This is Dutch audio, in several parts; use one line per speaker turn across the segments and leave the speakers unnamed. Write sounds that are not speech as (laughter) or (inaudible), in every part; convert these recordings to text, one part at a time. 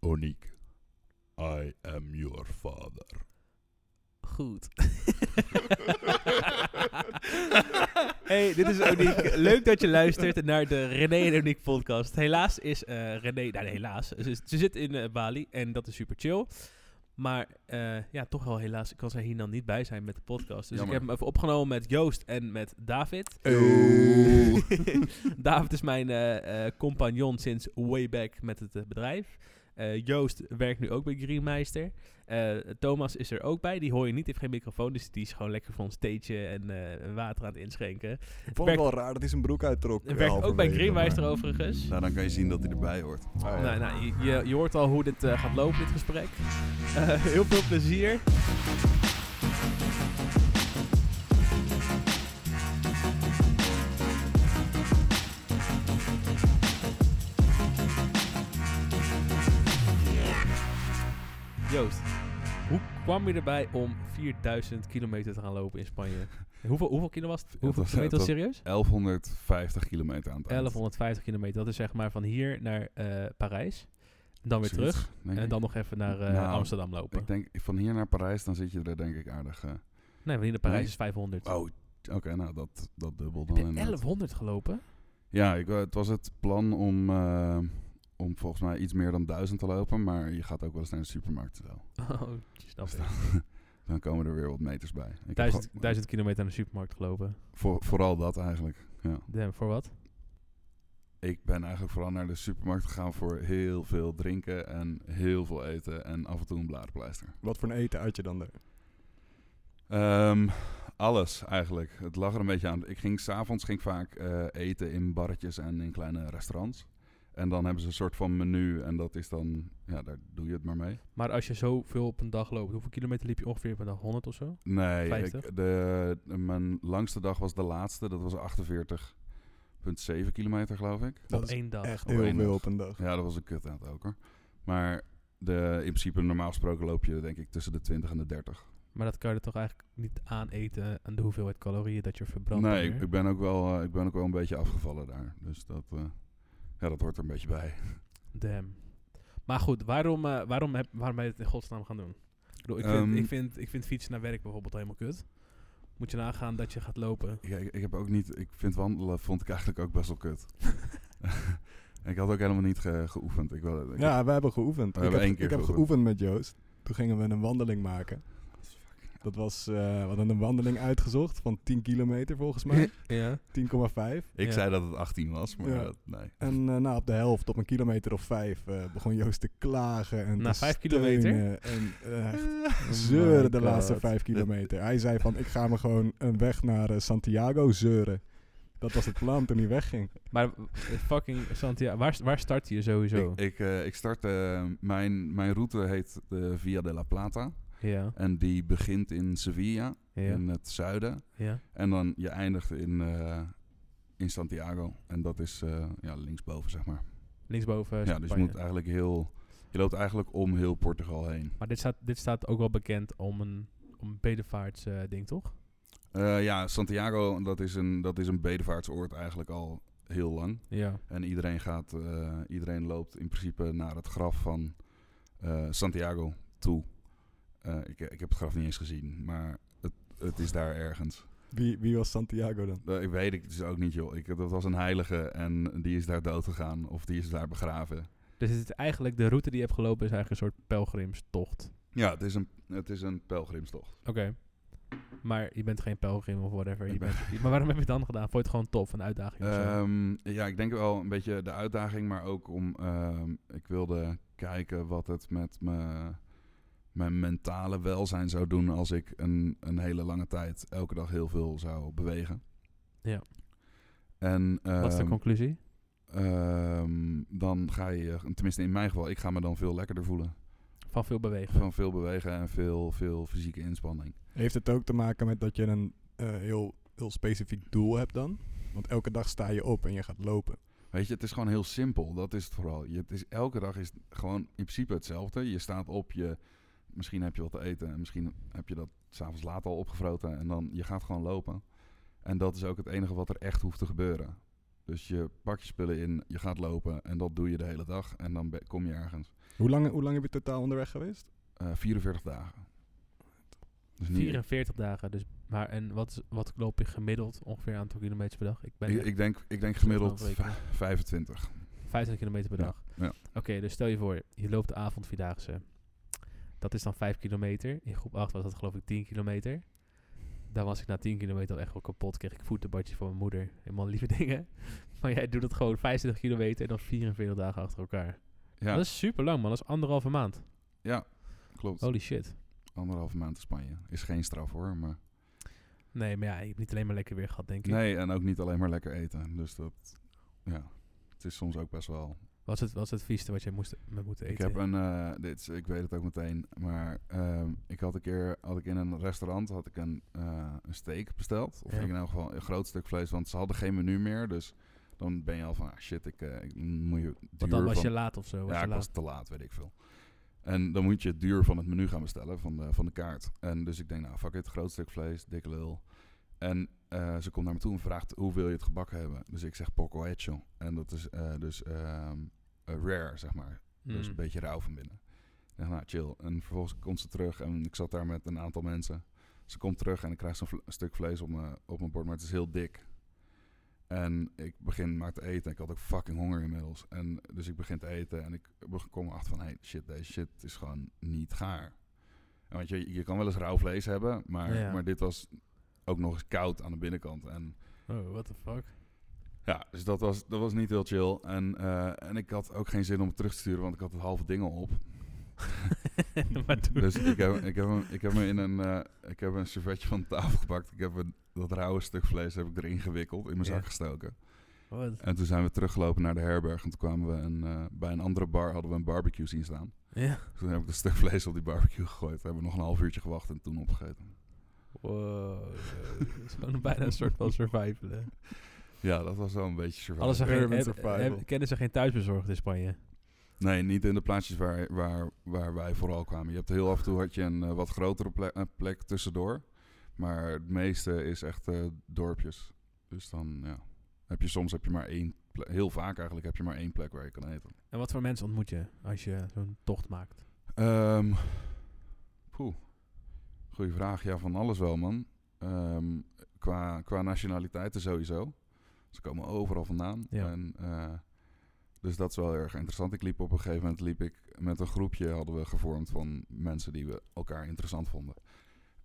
Oniek, I am your father.
(laughs) Goed.
hey,
dit is Oniek. Leuk dat je luistert naar de René en Oniek podcast. Helaas is eh, René... Nou, nee, helaas. Ze, is- ze zit in eh, Bali en dat is super chill. Maar eh, ja, toch wel helaas kan zij hier dan niet bij zijn met de podcast. Dus
Jammer.
ik heb hem even opgenomen met Joost en met David.
Eeuw.
(laughs) David is mijn eh, eh, compagnon sinds way back met het eh, bedrijf. Eh, Joost werkt nu ook bij Greenmeister. Eh, Thomas is er ook bij. Die hoor je niet, heeft geen microfoon. Dus die is gewoon lekker van stage en eh, water aan het inschenken.
Ik vond het wel raar dat hij zijn broek uittrok.
En werkt ook bij Greenmeister overigens.
Nou, dan kan je zien dat hij erbij hoort.
Nou, nou, je- je, je hoort al hoe dit eh, gaat lopen, dit gesprek. Eh, (laughs) heel veel plezier. Joost, hoe kwam je erbij om 4000 kilometer te gaan lopen in
(laughs)
Spanje? Hoeveel, hoeveel kilo was het? Hoeveel
was-
kilometer was
het
het serieus?
1150 kilometer aan het eind.
1150 kilometer. Dat is zeg maar van hier naar eh, Parijs. Dan weer
Zoiets,
terug.
denk
En
ik.
dan nog even naar eh,
Nou,
Amsterdam lopen.
Ik denk, van hier naar Parijs, dan zit je er denk ik aardig... eh,
nee, want hier naar Parijs
Nee.
is 500.
oh, oké, nou, dat, dat dubbel
Heb
dan
je
inderdaad.
1100
(laughs)
gelopen?
Ja, ik, wou- het was het plan om, eh, om volgens mij iets meer dan 1000 te lopen, maar je gaat ook wel eens naar de supermarkt en zo.
Oh, snap
Dus
ik.
dan, dan komen er weer wat meters bij. Ik heb
1000,
gewoon- eh,
1000 kilometer naar de supermarkt gelopen.
voor, vooral dat eigenlijk. Ja.
Damn, voor wat?
Ik ben eigenlijk vooral naar de supermarkt gegaan voor heel veel drinken en heel veel eten en af en toe een bladerpleister.
Wat voor een eten uit je dan er?
Ehm, alles eigenlijk. Het lag er een beetje aan. Ik ging s'avonds ging ik vaak eh, eten in barretjes en in kleine restaurants. En dan hebben ze een soort van menu en dat is dan, ja, daar doe je het maar mee.
Maar als je zoveel op een dag loopt, hoeveel kilometer liep je ongeveer per dag? 100 of zo?
Nee,
50?
ik, de, mijn langste dag was de laatste. Dat was 48,7 kilometer, geloof ik.
Dat
op
is
één dag.
Echt
Op één
heel veel
dag.
op een dag.
Ja, dat was een kut aan het ook hoor. Maar de, in principe, normaal gesproken loop je denk ik tussen de 20 en de 30.
Maar dat kan je er toch eigenlijk niet aan eten aan de hoeveelheid calorieën dat je verbrandt.
nee, ik,
meer?
ik ben ook wel, eh, ik ben ook wel een beetje afgevallen daar. Dus dat, eh, ja, dat hoort er een beetje bij.
Damn. Maar goed, waarom, eh, waarom, heb, waarom ben je het in godsnaam gaan doen? Ik, bedoel, ik,
Ehm.
vind, ik, vind, ik vind fietsen naar werk bijvoorbeeld helemaal kut. Moet je nagaan dat je gaat lopen.
Ik, ik, ik heb ook niet, ik vind wandelen vond ik eigenlijk ook best wel kut. En ik had ook helemaal niet ge- geoefend. Ik, wil- ik
Ja, we hebben
We
geoefend. ik
hebben
heb,
één keer
ik heb
geoefend.
geoefend met Joost. Toen gingen we een wandeling maken. Dat was, eh, we hadden een wandeling uitgezocht van 10 kilometer volgens
(laughs)
mij.
(laughs)
Ja.
10,5.
ik
Ja.
zei dat het 18 was, maar
Ja.
dat- nee.
En eh, nou, op de helft, op een kilometer of vijf, eh, begon Joost te klagen. En
Na
te
vijf
steunen
kilometer?
En eh, echt
Oh my
zeuren de laatste
God.
vijf kilometer. Hij zei van, ik ga me gewoon een weg naar eh, Santiago zeuren. Dat was het plan toen hij wegging.
Maar w- fucking Santiago, waar, s- waar start je sowieso?
Ik, ik, eh, ik start, eh, mijn, mijn route heet de Via de la Plata.
ja,
En die begint in Sevilla,
ja,
in het zuiden.
ja.
En dan je eindigt in, eh, in Santiago. En dat is eh, ja, linksboven, zeg maar.
Linksboven
ja, dus je
Spanje.
moet eigenlijk heel... Je loopt eigenlijk om heel Portugal heen.
Maar dit staat, dit staat ook wel bekend om een, om een bedevaarts eh, ding, toch?
Eh, ja, Santiago, dat is, een, dat is een bedevaartsoord eigenlijk al heel lang.
Ja.
En iedereen, gaat, eh, iedereen loopt in principe naar het graf van eh, Santiago toe. Eh, ik, ik heb het graf niet eens gezien, maar het, het is daar ergens.
Wie, wie was Santiago dan?
Eh, Ik weet het dus ook niet, joh. Ik, dat was een heilige en die is daar dood gegaan of die is daar begraven.
Dus het is eigenlijk, de route die je hebt gelopen is eigenlijk een soort pelgrimstocht.
Ja, het is een, het is een pelgrimstocht.
Oké. Maar je bent geen pelgrim of whatever. Je
Ik ben-
bent, je- maar waarom heb je het dan gedaan? Vond je het gewoon tof, een uitdaging of zo?
Ehm, ja, ik denk wel een beetje de uitdaging, maar ook om... ehm, ik wilde kijken wat het met me, mijn mentale welzijn zou doen als ik een, een hele lange tijd elke dag heel veel zou bewegen.
Ja.
En,
Wat is de
ehm,
conclusie?
ehm, dan ga je, tenminste in mijn geval, ik ga me dan veel lekkerder voelen.
Van veel bewegen.
Van veel bewegen en veel, veel fysieke inspanning.
Heeft het ook te maken met dat je een eh, heel, heel specifiek doel hebt dan? Want elke dag sta je op en je gaat lopen.
Weet je, het is gewoon heel simpel. Dat is het vooral. Je, het is, elke dag is het gewoon in principe hetzelfde. Je staat op, je, misschien heb je wat te eten. En misschien heb je dat s'avonds laat al opgevroten. En dan je gaat gewoon lopen. En dat is ook het enige wat er echt hoeft te gebeuren. Dus je pakt je spullen in, je gaat lopen en dat doe je de hele dag. En dan be- kom je ergens.
Hoe lang, hoe lang heb je totaal onderweg geweest?
Eh, 44 dagen. Dus niet-
44 dagen. Dus, maar en wat, wat loop je gemiddeld ongeveer een aantal kilometers per dag? Ik ben
ik,
echt
ik denk, ik denk
slecht aan
gemiddeld
het rekenen.
25.
25 kilometer per
Ja,
dag.
ja.
Oké, dus stel je voor, je loopt de avond vierdaagse. Dat is dan 5 kilometer. In groep 8 was dat geloof ik 10 kilometer. Dan was ik na 10 kilometer al echt wel kapot. Kreeg ik voetenbadjes van mijn moeder. Helemaal lieve (laughs) dingen. Maar jij doet het gewoon 25 kilometer en dan 44 dagen achter elkaar.
Ja,
Dat is super lang man. Dat is anderhalve maand.
klopt.
Holy shit.
Anderhalve maand in Spanje. Is geen straf hoor. Maar...
Nee, maar ja, je hebt niet alleen maar lekker weer gehad denk ik.
Nee, en ook niet alleen maar lekker eten. Dus dat, ja. Het is soms ook best wel
Wat is het, wat is het vieste wat jij moest, met moet eten?
Ik heb een, eh, dit, is- ik weet het ook meteen, maar ehm, ik had een keer had ik in een restaurant had ik een, eh, een steak besteld. Of
Ja.
in elk geval een groot stuk vlees, want ze hadden geen menu meer. Dus dan ben je al van, ah, shit, ik, eh, ik moet je
Want
duur
dan was
van-
je laat of zo. Was
ja,
je
ik was
laat.
te laat, weet ik veel. En dan moet je het duur van het menu gaan bestellen, van de, van de kaart. En dus ik denk, nou, fuck it, groot stuk vlees, dikke lul. En eh, ze komt naar me toe en vraagt, hoe wil je het gebakken hebben? Dus ik zeg poco hecho. En dat is eh, dus ehm, eh, rare, zeg maar. Dus
Mm.
een beetje rauw van binnen. Ik dacht, nou, chill. En vervolgens komt ze terug en ik zat daar met een aantal mensen. Ze komt terug en ik krijg zo'n vle- een stuk vlees op mijn, op mijn bord, maar het is heel dik. En ik begin maar te eten. Ik had ook fucking honger inmiddels. En dus ik begin te eten en ik be- kom erachter van... Hey, shit, deze shit is gewoon niet gaar. En want je, je kan wel eens rauw vlees hebben, maar,
Ja.
maar dit was ook nog eens koud aan de binnenkant. En
Oh, what the fuck. (laughs)
ja, dus dat was, dat was niet heel chill. En, eh, en ik had ook geen zin om het terug te sturen, want ik had het halve ding al op.
maar toen-
Dus ik heb, ik, heb hem, ik heb hem in een, eh, ik heb een servetje van de tafel gepakt. Ik heb een, dat rauwe stuk vlees heb ik erin gewikkeld, in mijn
Ja.
zak gestoken.
(laughs) Wat?
En toen zijn we teruggelopen naar de herberg. En toen kwamen we een, eh, bij een andere bar hadden we een barbecue zien staan. Dus
Ja.
Toen heb ik dat stuk vlees op die barbecue gegooid. Hebben we nog een half uurtje gewacht en toen opgegeten.
Wow. Het is gewoon bijna een soort van survivalen.
Ja, dat was wel een beetje survival.
Alles er geen, eh,
Urban
heb-
survival.
heb- kennen ze geen thuisbezorgd in Spanje?
Nee, niet in de plaatsjes waar, waar, waar wij vooral kwamen. Je hebt heel af en toe had je een eh, wat grotere plek, eh, plek tussendoor. Maar het meeste is echt eh, dorpjes. Dus dan ja, heb je soms heb je maar één plek. Heel vaak eigenlijk heb je maar één plek waar je kan eten.
En wat voor mensen ontmoet je als je zo'n tocht maakt?
Ehm poeh. Goeie vraag. Ja, van alles wel, man. Ehm, qua, qua nationaliteiten sowieso. Ze komen overal vandaan.
Ja.
En, eh, dus dat is wel erg interessant. Ik liep op een gegeven moment liep ik met een groepje hadden we gevormd van mensen die we elkaar interessant vonden.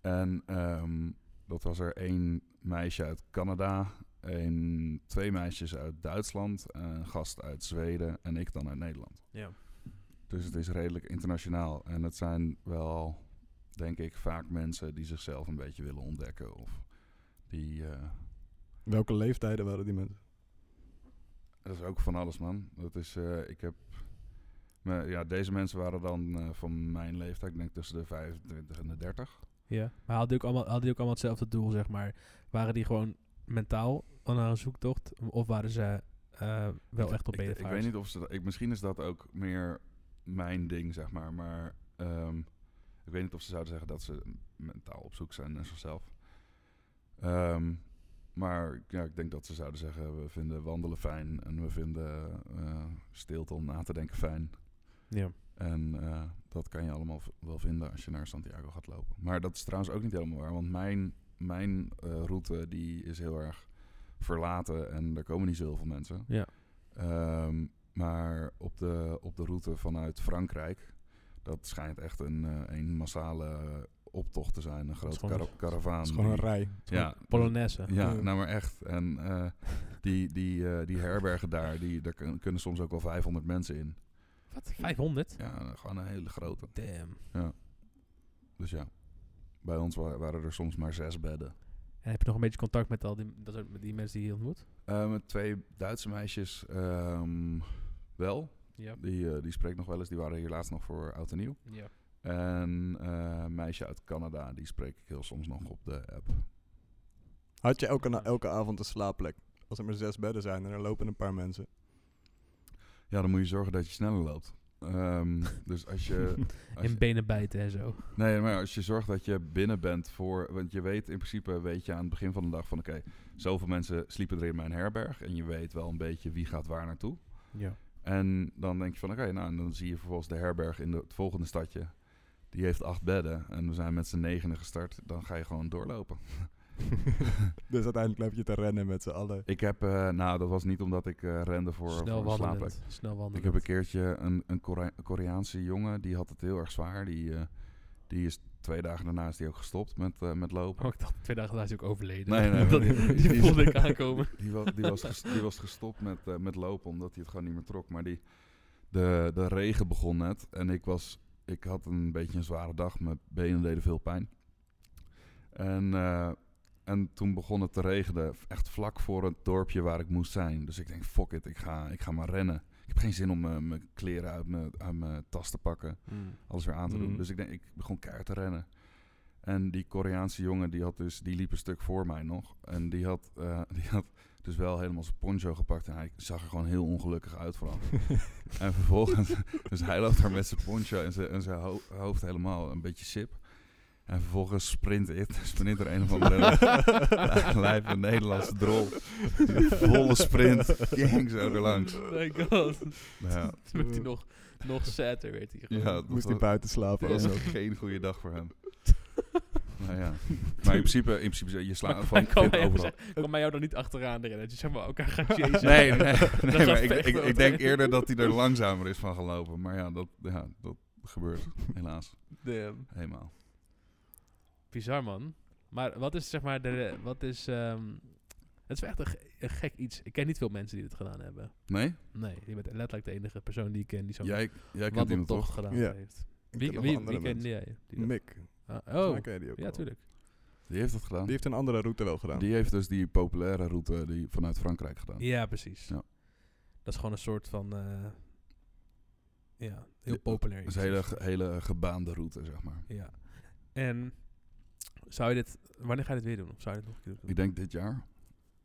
En ehm, dat was er één meisje uit Canada, één, twee meisjes uit Duitsland, een gast uit Zweden en ik dan uit Nederland.
Ja.
Dus het is redelijk internationaal. En het zijn wel, denk ik, vaak mensen die zichzelf een beetje willen ontdekken. Of die. eh,
Welke leeftijden waren die mensen?
dat is ook van alles, man. Dat is. eh, ik heb. me- ja, deze mensen waren dan eh, van mijn leeftijd, ik denk tussen de 25 en de 30.
ja. Maar hadden die, ook allemaal, hadden die ook allemaal hetzelfde doel, zeg maar? Waren die gewoon mentaal aan een zoektocht? Of waren ze eh, wel
Ik-
echt op
ik, ik,
bedevaart?
weet niet of ze dat. Ik, misschien is dat ook meer mijn ding, zeg maar. Maar ehm, ik weet niet of ze zouden zeggen dat ze mentaal op zoek zijn naar zichzelf. Ehm, maar ja, ik denk dat ze zouden zeggen: we vinden wandelen fijn en we vinden eh, stilte om na te denken fijn.
Ja.
En eh, dat kan je allemaal v- wel vinden als je naar Santiago gaat lopen. Maar dat is trouwens ook niet helemaal waar, want mijn, mijn eh, route die is heel erg verlaten en er komen niet zo heel veel mensen.
Ja.
Ehm, maar op de, op de route vanuit Frankrijk, dat schijnt echt een, eh, een massale optocht te zijn, een grote
gewoon-
cara- karavaan.
Het is gewoon een
die-
rij. Het is gewoon-
ja,
Polonaise.
ja,
Ja.
nou maar echt. En eh, die, die, eh, die herbergen daar, die, daar kun- kunnen soms ook wel 500 mensen in.
Wat? 500?
Ja, gewoon een hele grote.
Damn.
Dus ja, bij ons wa- waren er soms maar zes bedden.
En heb je nog een beetje contact met al die, dat, soort- met die mensen die je ontmoet?
Eh, met twee Duitse meisjes ehm, wel.
Ja.
Die, eh, die spreekt nog wel eens. Die waren hier laatst nog voor Oud en Nieuw.
Ja.
En eh, een meisje uit Canada, die spreek ik heel soms nog op de app.
Had je elke, na- elke avond een slaapplek? Als er maar zes bedden zijn en er lopen een paar mensen.
Ja, dan moet je zorgen dat je sneller loopt. Ehm, (laughs) dus als je... Als
In
je
benen bijten en zo.
nee, maar als je zorgt dat je binnen bent voor... Want je weet in principe, weet je aan het begin van de dag van... Oké, zoveel mensen sliepen er in mijn herberg. En je weet wel een beetje wie gaat waar naartoe.
Ja.
En dan denk je van, oké, nou, en dan zie je vervolgens de herberg in de, het volgende stadje. Die heeft acht bedden en we zijn met z'n negenen gestart. Dan ga je gewoon doorlopen.
dus uiteindelijk loop je te rennen met z'n allen.
Ik heb, eh, nou, dat was niet omdat ik eh, rende voor, voor
Snel
een slaapplek.
wandelend. Snel wandelend.
Ik heb een keertje een, een Korea- Koreaanse jongen, die had het heel erg zwaar. Die, eh, die is twee dagen daarna is die ook gestopt met, eh, met lopen.
Oh, ik dacht twee dagen later is hij ook overleden.
Nee, nee,
(laughs) Dat-
nee.
die voelde ik aankomen.
Die was, die was, ges- die was gestopt met, eh, met lopen, omdat hij het gewoon niet meer trok. Maar die, de, de regen begon net en ik, was, ik had een beetje een zware dag. Mijn benen deden veel pijn. En, eh, en toen begon het te regenen, echt vlak voor het dorpje waar ik moest zijn. Dus ik denk, fuck it, ik ga, ik ga maar rennen. Ik heb geen zin om eh, mijn kleren uit mijn, uit mijn tas te pakken
Mm.
alles weer aan te doen.
Mhm.
Dus ik, denk, ik begon keihard te rennen. En die Koreaanse jongen, die, had dus, die liep een stuk voor mij nog. En die had, eh, (laughs) die had dus wel helemaal zijn poncho gepakt. En hij zag er gewoon heel ongelukkig uit (laughs) vooral. en vervolgens, (laughs) dus hij loopt daar met zijn poncho en zijn, en zijn ho- hoofd helemaal een beetje sip. En vervolgens sprint, it, (laughs) sprint er een of (laughs) andere
(laughs)
lijpe Nederlandse drol. Volle sprint, gang zo erlangs.
Oh My god.
Ja,
Toen werd hij nog, nog sadder, werd hij gewoon.
ja, dat
Moest
was-
hij buiten slapen.
dat
of
was
zo.
geen goede dag voor hem. nou ja. Maar in principe, in principe je slaat
Hij
van
kwam,
kind
mij,
overal.
hij kwam mij jou dan niet achteraan rennen. Dat je zeg maar elkaar gaat chasen.
Nee,
(laughs)
nee, nee,
is
maar
echt
ik,
echt
ik,
wel
ik denk
wat.
eerder dat hij er langzamer is van gelopen. Maar ja, dat, ja, dat gebeurt helaas
Damn.
helemaal.
ehm, Bizar, man. Maar wat is zeg maar de... Wat is... ehm, het is echt een, ge- een gek iets. Ik ken niet veel mensen die dit gedaan hebben.
Nee?
Nee, je bent letterlijk de enige persoon die ik ken die zo'n
Jij, jij kent iemand
wandeltocht
toch?
gedaan
Ja.
heeft.
Ik
Wie,
ken nog
wie,
andere
wie kende
mensen.
jij? die dat-
Mick.
Ah,
Volgens
oh,
mij ken je die ook
ja,
wel.
tuurlijk.
Die heeft dat gedaan.
Die heeft een andere route wel gedaan.
Die heeft dus die populaire route die vanuit Frankrijk gedaan.
Ja, precies.
Ja.
Dat is gewoon een soort van... eh, ja, heel
Ja,
populair.
Dat
iets
is een Dus hele,
is.
ge- hele gebaande route, zeg maar.
Ja. En zou je dit... Wanneer ga je dit weer doen? Of zou je dit nog een keer doen?
Ik denk dit jaar.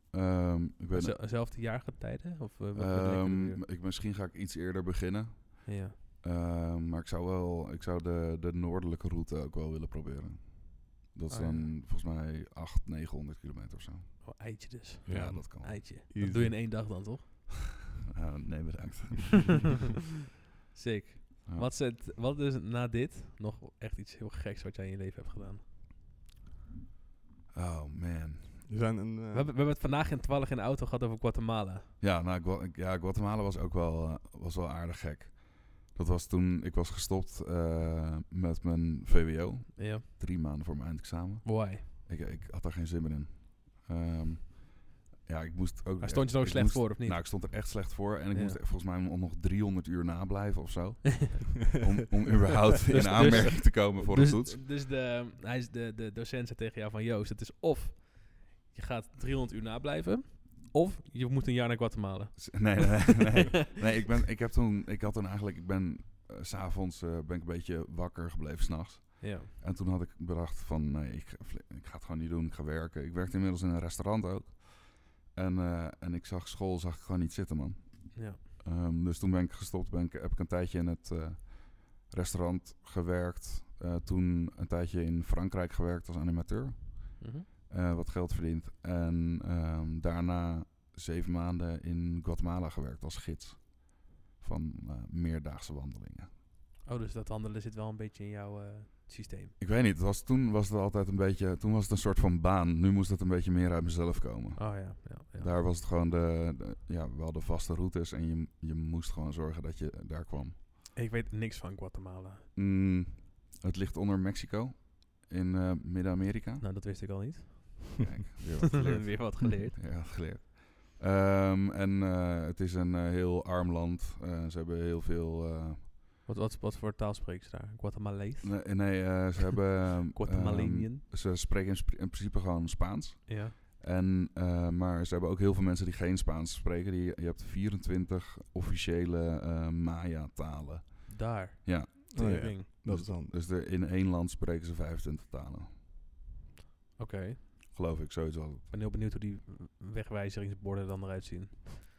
Ehm, ik weet niet.
Zel- Zelfde jaargetijden? Of eh, wat- wat denken
Ehm,
jullie?
ik, misschien ga ik iets eerder beginnen.
Ja.
Ehm, maar ik zou wel, ik zou de, de noordelijke route ook wel willen proberen. Dat is
Oh, ja.
dan volgens mij 800, 900 kilometer of zo.
Oh, eitje dus.
Ja,
Ja,
dat kan.
Eitje.
Easy.
Dat doe je in één dag dan, toch?
Ja, nee, bedankt.
(laughs) Sick.
Ja.
Wat, is het, wat is het na dit nog echt iets heel geks wat jij in je leven hebt gedaan?
Oh man.
Er zijn een... eh,
We, hebben, we hebben het vandaag in 12 in de auto gehad over Guatemala.
Ja, nou, Gua- ja, Guatemala was ook wel, eh, was wel aardig gek. Dat was toen ik was gestopt eh, met mijn VWO.
Ja.
Drie maanden voor mijn eindexamen.
Why?
Ik, ik had daar geen zin meer in. Ehm, ja, ik moest ook...
Maar stond je er ook
ik
slecht
moest-
voor, of niet? (laughs)
Nou, ik stond er echt slecht voor. En ik
Ja.
moest er volgens mij nog 300 uur nablijven of
(laughs)
zo. om, om überhaupt in aanmerking te komen voor
dus,
een toets.
Dus de, hij is de, de docent zei tegen jou van... Joost, het is of je gaat 300 uur nablijven... of je moet een jaar naar Guatemala.
S- Nee, nee, nee. (laughs) nee. Nee, ik, ben, ik, heb toen, ik had toen eigenlijk, ik ben eh, s s'avonds ben ik een beetje wakker gebleven s'nachts.
(laughs) Ja.
En toen had ik bedacht van, nee, ik, ga fli- ik ga het gewoon niet doen, ik ga werken. Ik werkte inmiddels in een restaurant ook. En, eh, en ik zag school, zag ik gewoon niet zitten, man.
ja.
Ehm, dus toen ben ik gestopt, ben ik, heb ik een tijdje in het eh, restaurant gewerkt. Eh, toen een tijdje in Frankrijk gewerkt als animateur.
Mhm.
eh, wat geld verdiend. En ehm, daarna zeven maanden in Guatemala gewerkt als gids van eh, meerdaagse wandelingen.
Oh, dus dat handelen zit wel een beetje in jouw eh, systeem.
Ik weet niet, het was, toen was het altijd een beetje, toen was het een soort van baan. Nu moest het een beetje meer uit mezelf komen.
Oh ja, ja, ja.
Daar was het gewoon de, de- ja, wel de vaste routes en je, je moest gewoon zorgen dat je daar kwam.
Ik weet niks van Guatemala.
Mm, het ligt onder Mexico in eh, Midden-Amerika.
(laughs) Nou, dat wist ik al niet.
Kijk, weer wat geleerd.
(laughs) Weer wat geleerd.
Ja, dat geleerd. Ehm, en eh, het is een eh, heel arm land. Eh, ze hebben heel veel. eh,
Wat, wat, wat voor taal spreken ze daar? Guatemalees?
nee, nee, eh, ze hebben. ehm,
Guatamaleenian?
ze spreken in, sp- in principe gewoon Spaans.
ehm,
Ja.
En, eh, maar ze hebben ook heel veel mensen die geen Spaans spreken. Die, je hebt 24 officiële eh, Maya-talen.
Daar.
Ja.
Oh ja,
Tering.
Dat is dan...
Dus er, in één land spreken ze 25 talen.
Oké.
Geloof ik, zoiets wel.
Ik ben heel benieuwd hoe die wegwijzeringsborden dan eruit zien.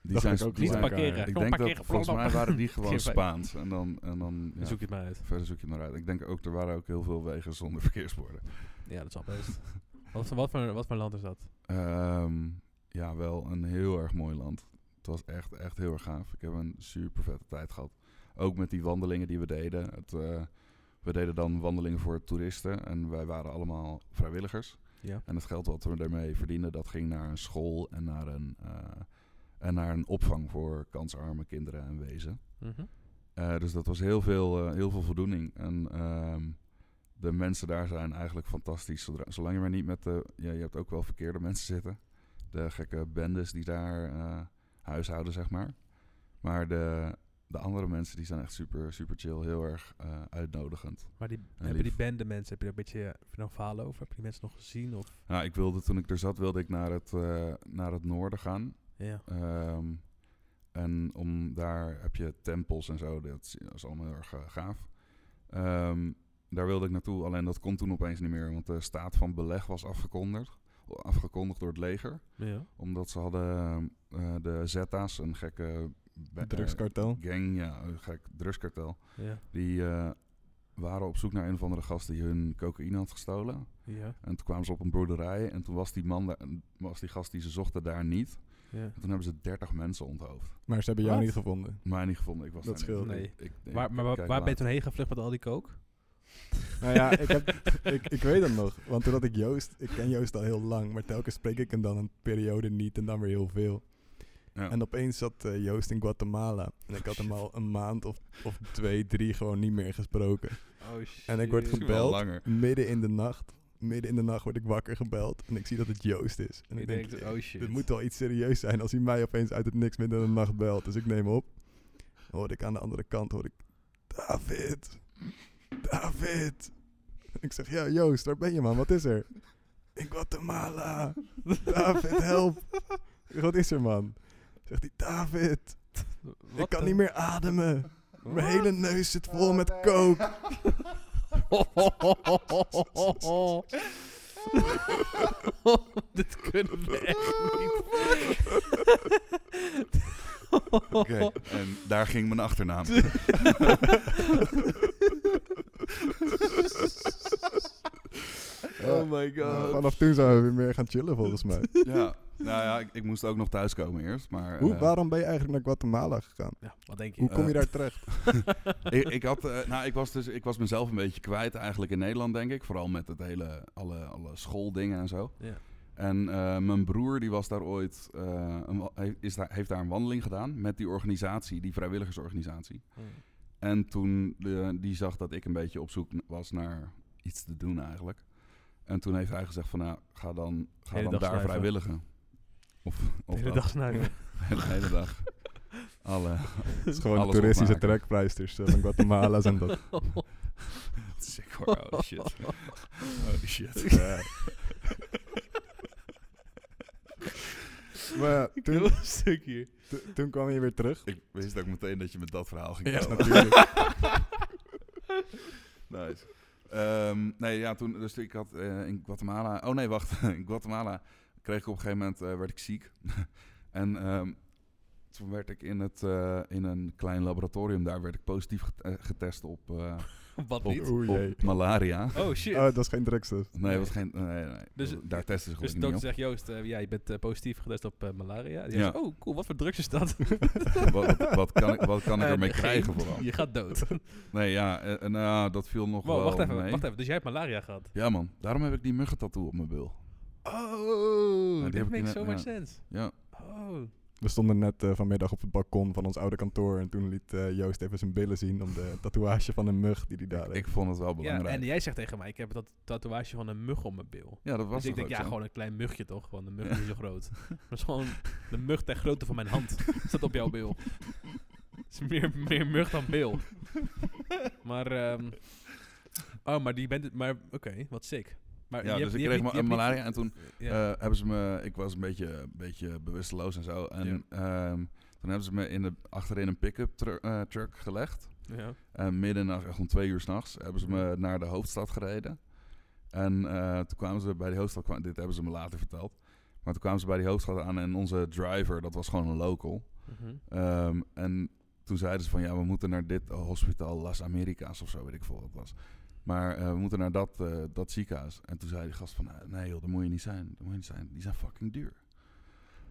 Die
Dacht
zijn
ik ook
die
Niet
zijn-
gelijk.
parkeren.
eh, Ik
Gewoon
denk
parkeren.
dat volgens mij waren
(laughs)
die gewoon
Geen feit.
Spaans. En dan, en dan ja,
Dan zoek je het maar uit.
verder zoek je het maar uit. Ik denk ook, er waren ook heel veel wegen zonder (laughs) verkeersborden.
Ja, dat zal
(laughs)
best. wat, voor- wat, voor, wat voor land is dat?
Ehm, ja, wel een heel erg mooi land. Het was echt, echt heel erg gaaf. Ik heb een super vette tijd gehad. Ook met die wandelingen die we deden. Het, eh, we deden dan wandelingen voor toeristen. En wij waren allemaal vrijwilligers.
Ja.
En het geld wat we daarmee verdienden, dat ging naar een school en naar een, eh, en naar een opvang voor kansarme kinderen en wezen.
Mhm.
Eh, dus dat was heel veel, eh, heel veel voldoening. En ehm, de mensen daar zijn eigenlijk fantastisch. Zodra, zolang je maar niet met de. Ja, je hebt ook wel verkeerde mensen zitten. De gekke bendes die daar eh huishouden, zeg maar. Maar de, de andere mensen die zijn echt super, super chill. Heel erg eh, uitnodigend.
Maar die, hebben
lief.
die bende mensen, heb je daar een beetje heb je daar een verhaal over? Heb je die mensen nog gezien? Of,
Nou, ik wilde toen ik er zat, wilde ik naar het, eh, naar het noorden gaan.
ja.
Ehm, en om daar heb je tempels en zo. Dat is, dat is allemaal heel erg eh, gaaf. Ehm, daar wilde ik naartoe. Alleen dat kon toen opeens niet meer. Want de staat van beleg was afgekondigd. Afgekondigd door het leger.
ja.
Omdat ze hadden eh, de Zetta's, een gekke... be- eh,
Drugskartel.
gang, ja, een gek drugskartel.
Ja.
Die eh, waren op zoek naar een of andere gast die hun cocaïne had gestolen.
Ja.
En toen kwamen ze op een boerderij. En toen was die, man daar, was die gast die ze zochten daar niet.
ja.
En toen hebben ze 30 mensen onthoofd.
Maar ze hebben jou
Wat?
niet gevonden.
Mij niet gevonden, ik was
Dat
daar
scheelt.
niet.
Nee.
Ik- ik- ik-
Waar, maar waar,
kijk
waar ben je
later.
toen heen gevlucht met al die kook?
Nou ja, ik, heb, ik, ik weet dat nog. Want toen had ik Joost, ik ken Joost al heel lang, maar telkens spreek ik hem dan een periode niet en dan weer heel veel.
Ja.
En opeens zat eh, Joost in Guatemala. En ik had hem al een maand of, of twee, drie gewoon niet meer gesproken.
Oh shit.
En ik word
Misschien
gebeld.
wel
(laughs)
langer.
Midden in de nacht, midden in de nacht word ik wakker gebeld en ik zie dat het Joost is. En
Ik
ik
denk,
(laughs) denk,
oh shit.
dit moet wel iets serieus zijn als hij mij opeens uit het niks midden in de nacht belt. Dus ik neem op. Hoor ik aan de andere kant, hoor ik, David, David. Ik zeg, ja Joost, waar ben je man, wat is er? In Guatemala, David, help. Ik zeg, Wat is er man? Zegt hij, David, ik kan niet meer ademen. Mijn hele neus zit vol met kook.
(laughs) Dit kunnen we echt niet.
Oké, en daar ging mijn
(laughs)
achternaam.
Oh my god.
Nou, Vanaf toen zijn we weer meer gaan chillen volgens mij.
ja, nou ja, ik, ik moest ook nog thuiskomen eerst. Maar,
Hoe,
eh,
waarom ben je eigenlijk naar Guatemala gegaan?
Ja, wat denk je?
Hoe kom je
Eh,
daar terecht?
ik, ik, had, eh, nou, ik, was dus, ik was mezelf een beetje kwijt eigenlijk in Nederland, denk ik. Vooral met het hele, alle, alle schooldingen en zo.
Ja.
En eh, mijn broer die was daar ooit, eh, een wa- hij is daar, heeft daar een wandeling gedaan met die organisatie, die vrijwilligersorganisatie.
hmm.
En toen eh, die zag dat ik een beetje op zoek was naar iets te doen eigenlijk. En toen heeft hij gezegd van nou, ga dan, ga
Hele
dan
dag
daar
snuiven.
vrijwilligen. Of,
De
of
hele
dat.
dag snuiven.
de (laughs) hele
(laughs)
dag. Alle,
Het is gewoon de
alles
toeristische
opmaken.
trekpleisters eh, van Guatemala zijn dat.
sick hoor, oh shit.
(laughs)
Holy shit. Ja.
Maar ja,
Heel (laughs)
toen,
een stuk hier.
to- toen kwam je weer terug.
ik wist ook meteen dat je met dat verhaal ging
Ja,
komen.
natuurlijk.
Nice. Ehm, nee, ja, toen, dus ik had eh, in Guatemala... Oh nee, wacht. (laughs) In Guatemala kreeg ik op een gegeven moment, eh, werd ik ziek. (laughs) en ehm, toen werd ik in, het, eh, in een klein laboratorium daar, werd ik positief get- eh, getest
(laughs)
op, eh,
Oh Wat
op,
niet?
Oei,
op
jee.
malaria.
(laughs) Oh shit.
Oh, dat is geen drugstest.
Nee, was geen, nee, nee,
Dus-
dat- daar testen ze gelukkig
dus de
niet
dokter
op.
zegt, Joost, eh, ja, je bent eh, positief getest op eh, malaria. Die
Ja.
zegt, oh cool, wat voor drugs is
(laughs)
dat?
wat, wat, wat kan ik, wat kan ik
(laughs) Eh,
ermee
geen.
krijgen vooral?
Je gaat dood.
Nee, ja, eh, eh, nou, dat viel nog
(laughs) Wow,
wel
wacht even,
mee.
wacht even. Dus jij hebt malaria gehad?
Ja man, daarom heb ik die muggentattoo op mijn bil.
Oh,
die heb
that
ik
makes
inderdaad-
so much
ja.
sense.
Ja,
Oh.
We stonden net eh, vanmiddag op het balkon van ons oude kantoor. En toen liet eh, Joost even zijn billen zien om de tatoeage van een mug die hij daar
ik,
heeft.
ik vond het wel
Ja,
belangrijk.
en jij zegt tegen mij, ik heb dat tatoeage van een mug op mijn bil.
Ja, dat was
Dus
toch
ik denk,
ook
ja,
zo?
gewoon een klein mugje toch? Gewoon een mug is niet zo groot. Dat is gewoon de mug ter grootte van mijn hand. Staat op jouw bil. Het is meer, meer mug dan bil. Maar, ehm oh, maar die bent, maar oké, wat sick. Maar
Ja,
je
dus
hebt-
ik
je
kreeg
hebt niet-
ma-
je hebt niet-
malaria en toen
Ja.
eh, hebben ze me... Ik was een beetje, een beetje bewusteloos en zo. En ehm, toen hebben ze me in de, achterin een pick-up tru- eh, truck gelegd.
ja.
En midden in de nacht, echt om twee uur s'nachts, hebben ze me naar de hoofdstad gereden. En eh, toen kwamen ze bij die hoofdstad... kwa- Dit hebben ze me later verteld. Maar toen kwamen ze bij die hoofdstad aan en onze driver, dat was gewoon een local...
Mhm.
Ehm, en toen zeiden ze van ja, we moeten naar dit hospitaal Las Americas of zo, weet ik veel wat het was. Maar eh, we moeten naar dat, eh, dat ziekenhuis. En toen zei die gast van eh, nee joh, daar moet je niet zijn. Daar moet je niet zijn. Die zijn fucking duur.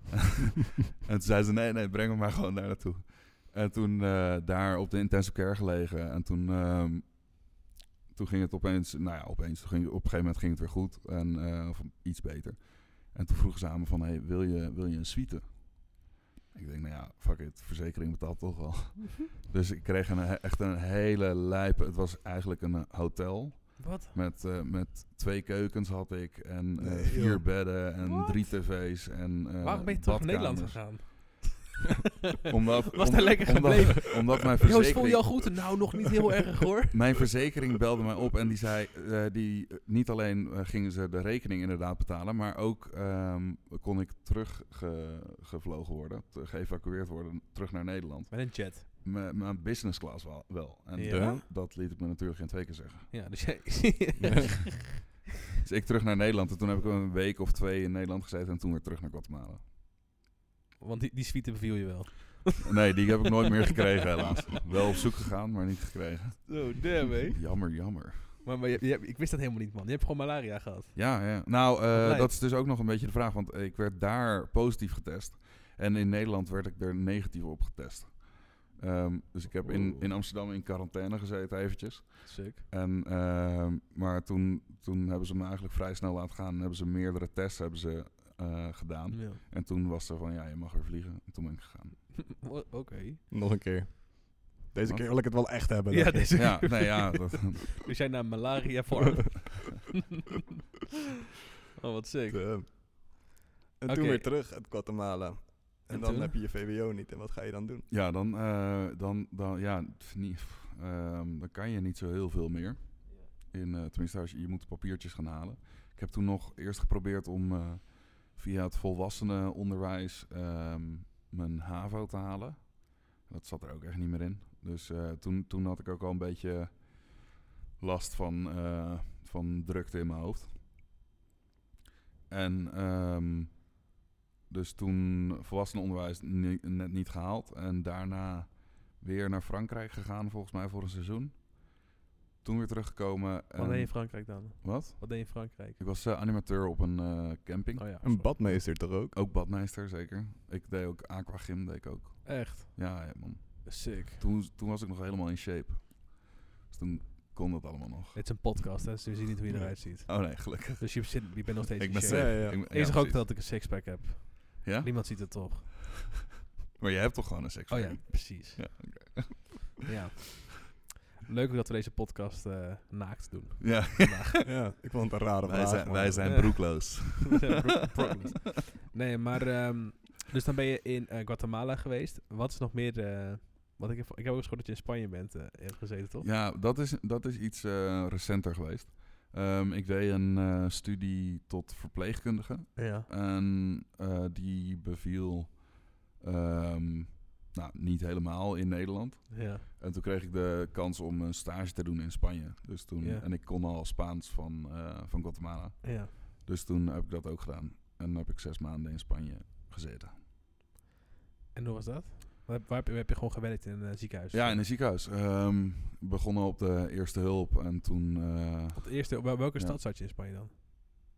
(laughs) en toen zei ze nee, nee, breng me maar gewoon daar naartoe. En toen eh, daar op de intensive care gelegen. En toen, ehm, toen ging het opeens, nou ja, opeens, toen ging, op een gegeven moment ging het weer goed. En, eh, of iets beter. En toen vroegen ze aan me van, hey, wil, je, wil je een suite? Ik denk, nou ja, fuck it, verzekering betaalt toch wel. dus ik kreeg een, he- echt een hele lijpe, het was eigenlijk een eh, hotel.
Wat?
Met, eh, met twee keukens had ik en eh,
Nee,
vier
joh.
bedden en
What?
drie tv's en eh,
Waarom ben je terug naar Nederland
badkamers.
gegaan?
(laughs) Omdat,
Was
om-
daar lekker
omdat-
gebleven.
Omdat mijn
(laughs) Joost, voel je al
verzekering,
goed? Nou, nog niet heel erg hoor.
(laughs) mijn verzekering belde mij op en die zei, eh, die, niet alleen eh, gingen ze de rekening inderdaad betalen, maar ook ehm, kon ik teruggevlogen worden, te- geëvacueerd worden, terug naar Nederland.
Met een chat.
M- mijn business class wel. wel. En
Ja?
dat- dat liet ik me natuurlijk geen twee keer zeggen.
Ja, dus jij...
Dus ik terug naar Nederland. En toen heb ik een week of twee in Nederland gezeten. En toen weer terug naar Guatemala.
(laughs) Want die, die suite beviel je wel.
Nee, die heb ik nooit meer gekregen helaas. Wel op zoek gegaan, maar niet gekregen.
Oh, damn, hé.
Jammer, jammer.
Maar, maar je, je hebt- ik wist dat helemaal niet, man. Je hebt gewoon malaria gehad.
Ja, ja. nou, eh,
lijp.
dat is dus ook nog een beetje de vraag. Want ik werd daar positief getest. En in Nederland werd ik er negatief op getest. Ehm, dus ik heb in,
Oeh.
in Amsterdam in quarantaine gezeten eventjes.
Suk.
En, ehm, maar toen, toen hebben ze me eigenlijk vrij snel laten gaan. En hebben ze meerdere tests hebben ze, eh, gedaan.
Ja. (laughs)
En toen was er van, ja, je mag weer vliegen. En toen ben ik gegaan.
Oké.
Nog een keer. Deze
Wat?
keer wil ik het wel echt hebben.
Ja,
dacht ik.
deze
Ja, (laughs) nee, ja. Dat,
We zijn naar
(laughs)
malaria farm. (laughs) oh, wat sick.
Eh, en
Oké.
toen weer terug uit Guatemala. En,
En
dan
toen?
heb je je VWO niet. En wat ga je dan doen?
ja, dan, eh, dan, dan, ja, pff, niet, pff, ehm, dan kan je niet zo heel veel meer. In, eh, tenminste, als je, je moet papiertjes gaan halen. Ik heb toen nog eerst geprobeerd om eh, via het volwassenenonderwijs ehm, mijn HAVO te halen. Dat zat er ook echt niet meer in. Dus eh, toen, toen had ik ook al een beetje last van, eh, van drukte in mijn hoofd. En ehm, dus toen volwassenenonderwijs ni- net niet gehaald. En daarna weer naar Frankrijk gegaan, volgens mij voor een seizoen. Toen weer teruggekomen. en-
Wat deed je in Frankrijk dan?
Wat?
Wat deed je in Frankrijk?
Ik was eh, animateur op een eh, camping.
Oh ja.
Een badmeester toch ook?
Ook badmeester, zeker. Ik deed ook aquagym, deed ik ook.
Echt.
Ja, ja, man.
Sick.
Toen, toen was ik nog helemaal in shape. Dus toen kon dat allemaal nog.
Het is een podcast, hè, dus je ziet niet hoe je
Nee.
eruit ziet.
Oh nee, gelukkig.
Dus je, zit, je bent nog steeds
Ik
in
ben
shape.
safe.
Ja, ja.
Ik ben-
Is
ja,
er ook
precies.
dat ik een sixpack heb?
Ja?
Niemand ziet het toch?
(laughs) Maar jij hebt toch gewoon een seks?
Oh ja, precies.
Ja,
ja. Leuk ook dat we deze podcast eh,
(laughs)
naakt doen.
Ja.
ja, ik vond het een rare
wij
vraag.
zijn,
maar-
wij zijn
Ja.
broekloos.
We
(laughs)
zijn broek- broekloos. nee, maar... ehm, dus dan ben je in eh, Guatemala geweest. Wat is nog meer... eh, wat ik, heb, ik heb ook eens gehoord dat je in Spanje bent eh, hebt gezeten, toch?
Ja, dat is, dat is iets eh, recenter geweest. Ehm, ik deed een eh, studie tot verpleegkundige.
Ja.
En eh, die beviel ehm, nou, niet helemaal in Nederland.
Ja.
En toen kreeg ik de kans om een stage te doen in Spanje. Dus toen,
Ja.
En ik kon al Spaans van, eh, van Guatemala.
ja.
Dus toen heb ik dat ook gedaan. En heb ik zes maanden in Spanje gezeten.
En hoe was dat? Waar, heb- waar heb, je- heb je gewoon gewerkt in een eh, ziekenhuis?
Ja, in een ziekenhuis. Ehm begonnen op de eerste hulp. En toen eh,
Op de eerste, bij welke
Ja.
stad zat je in Spanje dan?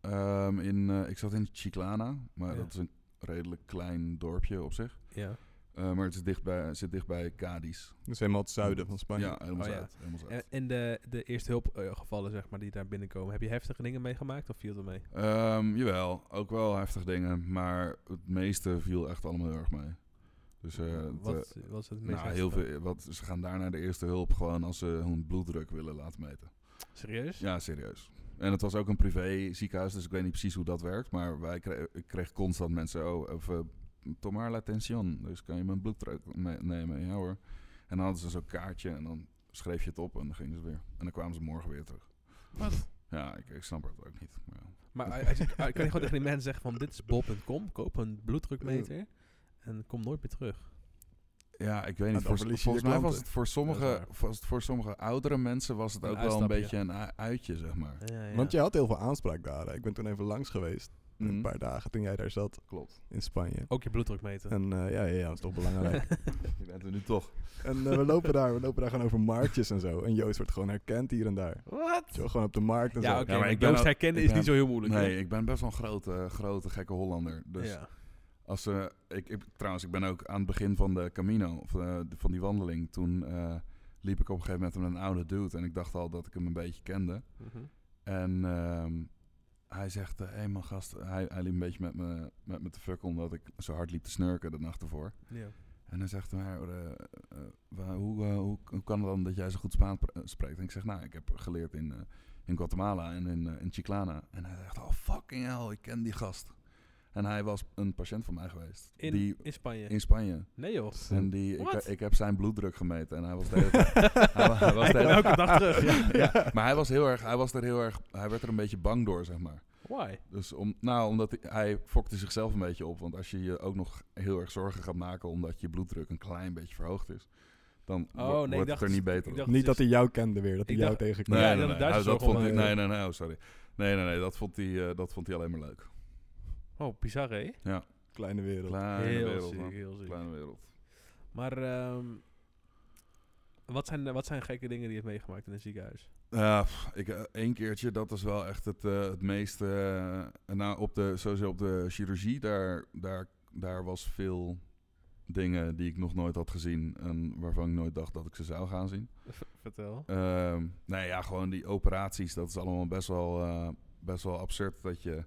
ehm, in, eh, ik zat in Chiclana. Maar
Ja.
dat is een redelijk klein dorpje op zich.
Ja.
Eh, maar het is dichtbij, zit dichtbij Cadiz.
Dus helemaal het zuiden van Spanje.
Ja, helemaal
Oh, ja.
zuid. Helemaal zuid.
En, en de, de eerste hulp eh, gevallen, zeg maar, die daar binnenkomen. Heb je heftige dingen meegemaakt of viel het wel mee?
Ehm, jawel, ook wel heftig dingen, maar het meeste viel echt allemaal heel erg mee. Dus eh, het, eh,
wat, wat is het meest
nou, heel
heftige?
veel, wat, ze gaan daarna de eerste hulp gewoon als ze hun bloeddruk willen laten meten.
Serieus?
Ja, serieus. En het was ook een privé ziekenhuis, dus ik weet niet precies hoe dat werkt, maar wij kre- ik kreeg constant mensen, oh, of, eh, tomar la tension, dus kan je mijn bloeddruk me- nemen? Ja hoor. En dan hadden ze zo'n kaartje en dan schreef je het op en dan gingen ze weer. En dan kwamen ze morgen weer terug.
Wat?
Ja, ik, ik snap het ook niet. Maar ja.
Maar eh, hij- hij zegt- hij ah, kan je gewoon tegen die mensen zeggen van, dit is bol.com, koop een bloeddrukmeter en kom nooit meer terug.
Ja, ik weet niet.
En Nou, dan
Voor,
verlies
volgens
je je
mij was
klanten.
het voor
Dat
sommige,
is
was het voor sommige oudere mensen was het
Een
ook wel een
uitstapje.
beetje een u- uitje, zeg maar.
Ja, ja.
Want je had heel veel aanspraak daar. hè. Ik ben toen even langs geweest.
Mhm.
een paar dagen toen jij daar zat
Klopt.
in Spanje.
Ook je bloeddruk meten.
En eh, ja, ja, ja, dat is toch belangrijk.
Je bent er nu toch.
en eh, we, lopen daar, we lopen daar gewoon over marktjes en zo. En Joost wordt gewoon herkend hier en daar.
Wat?
Zo, gewoon op de markt en
Ja,
zo.
oké.
Ja, maar
maar
ik ben
Joost
ook-
herkennen
ik
is
ben-
niet zo heel moeilijk.
Nee, ik ben best wel een grote, grote gekke Hollander. Dus
ja.
Als, eh, ik, ik, trouwens, ik ben ook aan het begin van de Camino, of, eh, de- van die wandeling, toen eh, liep ik op een gegeven moment met een oude dude en ik dacht al dat ik hem een beetje kende.
Mhm.
En ehm, hij zegt, hé hey man gast, hij, hij liep een beetje met me, met me te fucken omdat ik zo hard liep te snurken de nacht ervoor.
ja.
En hij zegt, maar, eh, eh, wa- hoe, eh, hoe, hoe kan het dan dat jij zo goed Spaans pra- eh, spreekt? En ik zeg, nou, ik heb geleerd in, eh, in Guatemala en in, eh, in Chiclana. En hij zegt, oh fucking hell, ik ken die gast. En hij was een patiënt van mij geweest.
In,
die
in Spanje.
in Spanje.
nee
(laughs)
joh.
En die, ik,
What?
ik heb zijn bloeddruk gemeten en hij was de
(laughs)
hele tijd- hij wa- hij was de
Hij
hele-
kwam elke dag terug.
(laughs) Ja, ja. Maar hij was heel erg, hij was er heel erg, hij werd er een beetje bang door, zeg maar.
Why?
Dus om, nou, omdat hij, hij fokte zichzelf een beetje op. Want als je je ook nog heel erg zorgen gaat maken omdat je bloeddruk een klein beetje verhoogd is, dan
Oh,
wo-
nee, ik
wordt
dacht-
het er niet
ik
beter op.
dacht-
Niet dat hij jou kende weer, dat hij
Ik
jou
dacht-
tegenkwam.
Nee,
Ja,
nee,
dat-
nee,
daar is
hij-
het
dat
zorg
vond
om,
hij,
eh,
nee, nee, nee, oh, sorry. Nee, nee, nee, dat vond hij, eh, dat vond hij alleen maar leuk.
Oh, bizar hè?
Kleine wereld.
Kleine
Heel
wereld,
ziek,
man.
heel ziek.
Kleine wereld.
Maar ehm, wat, zijn, wat zijn gekke dingen die je hebt meegemaakt in een ziekenhuis?
Ja, pff, ik, eh, één keertje, dat is wel echt het, eh, het meeste. eh, nou, op de, sowieso op de chirurgie, daar, daar, daar was veel dingen die ik nog nooit had gezien. En waarvan ik nooit dacht dat ik ze zou gaan zien.
Vertel.
Ehm nou ja, gewoon die operaties, dat is allemaal best wel, eh, best wel absurd dat je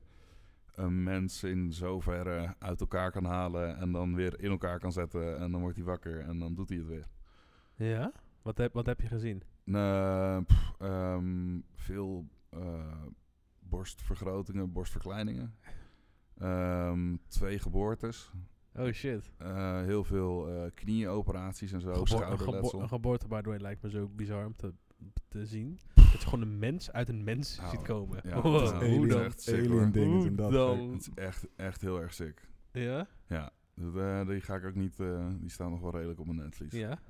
een mens in zoverre uit elkaar kan halen en dan weer in elkaar kan zetten. En dan wordt hij wakker en dan doet hij het weer.
Ja? Wat heb, wat heb je gezien?
Nee, pff, ehm, veel eh, borstvergrotingen, borstverkleiningen. Ehm, twee geboortes.
Oh shit.
Eh, heel veel eh knieoperaties en zo.
Gebo- een, gebo-
schouderletsel.
een geboorte, by the way, lijkt me zo bizar om te, te zien. Dat je gewoon een mens uit een mens
Nou,
ziet komen.
ja,
Wow,
dat is
(laughs) hoe
alien.
dan?
echt sick,
alien
hoor.
dingen
Hoe
doen dat.
dan?
Het is echt, echt heel erg sick.
Ja?
Ja, dat, eh, die ga ik ook niet... eh, die staan nog wel redelijk op mijn netvlies.
Ja?
(laughs)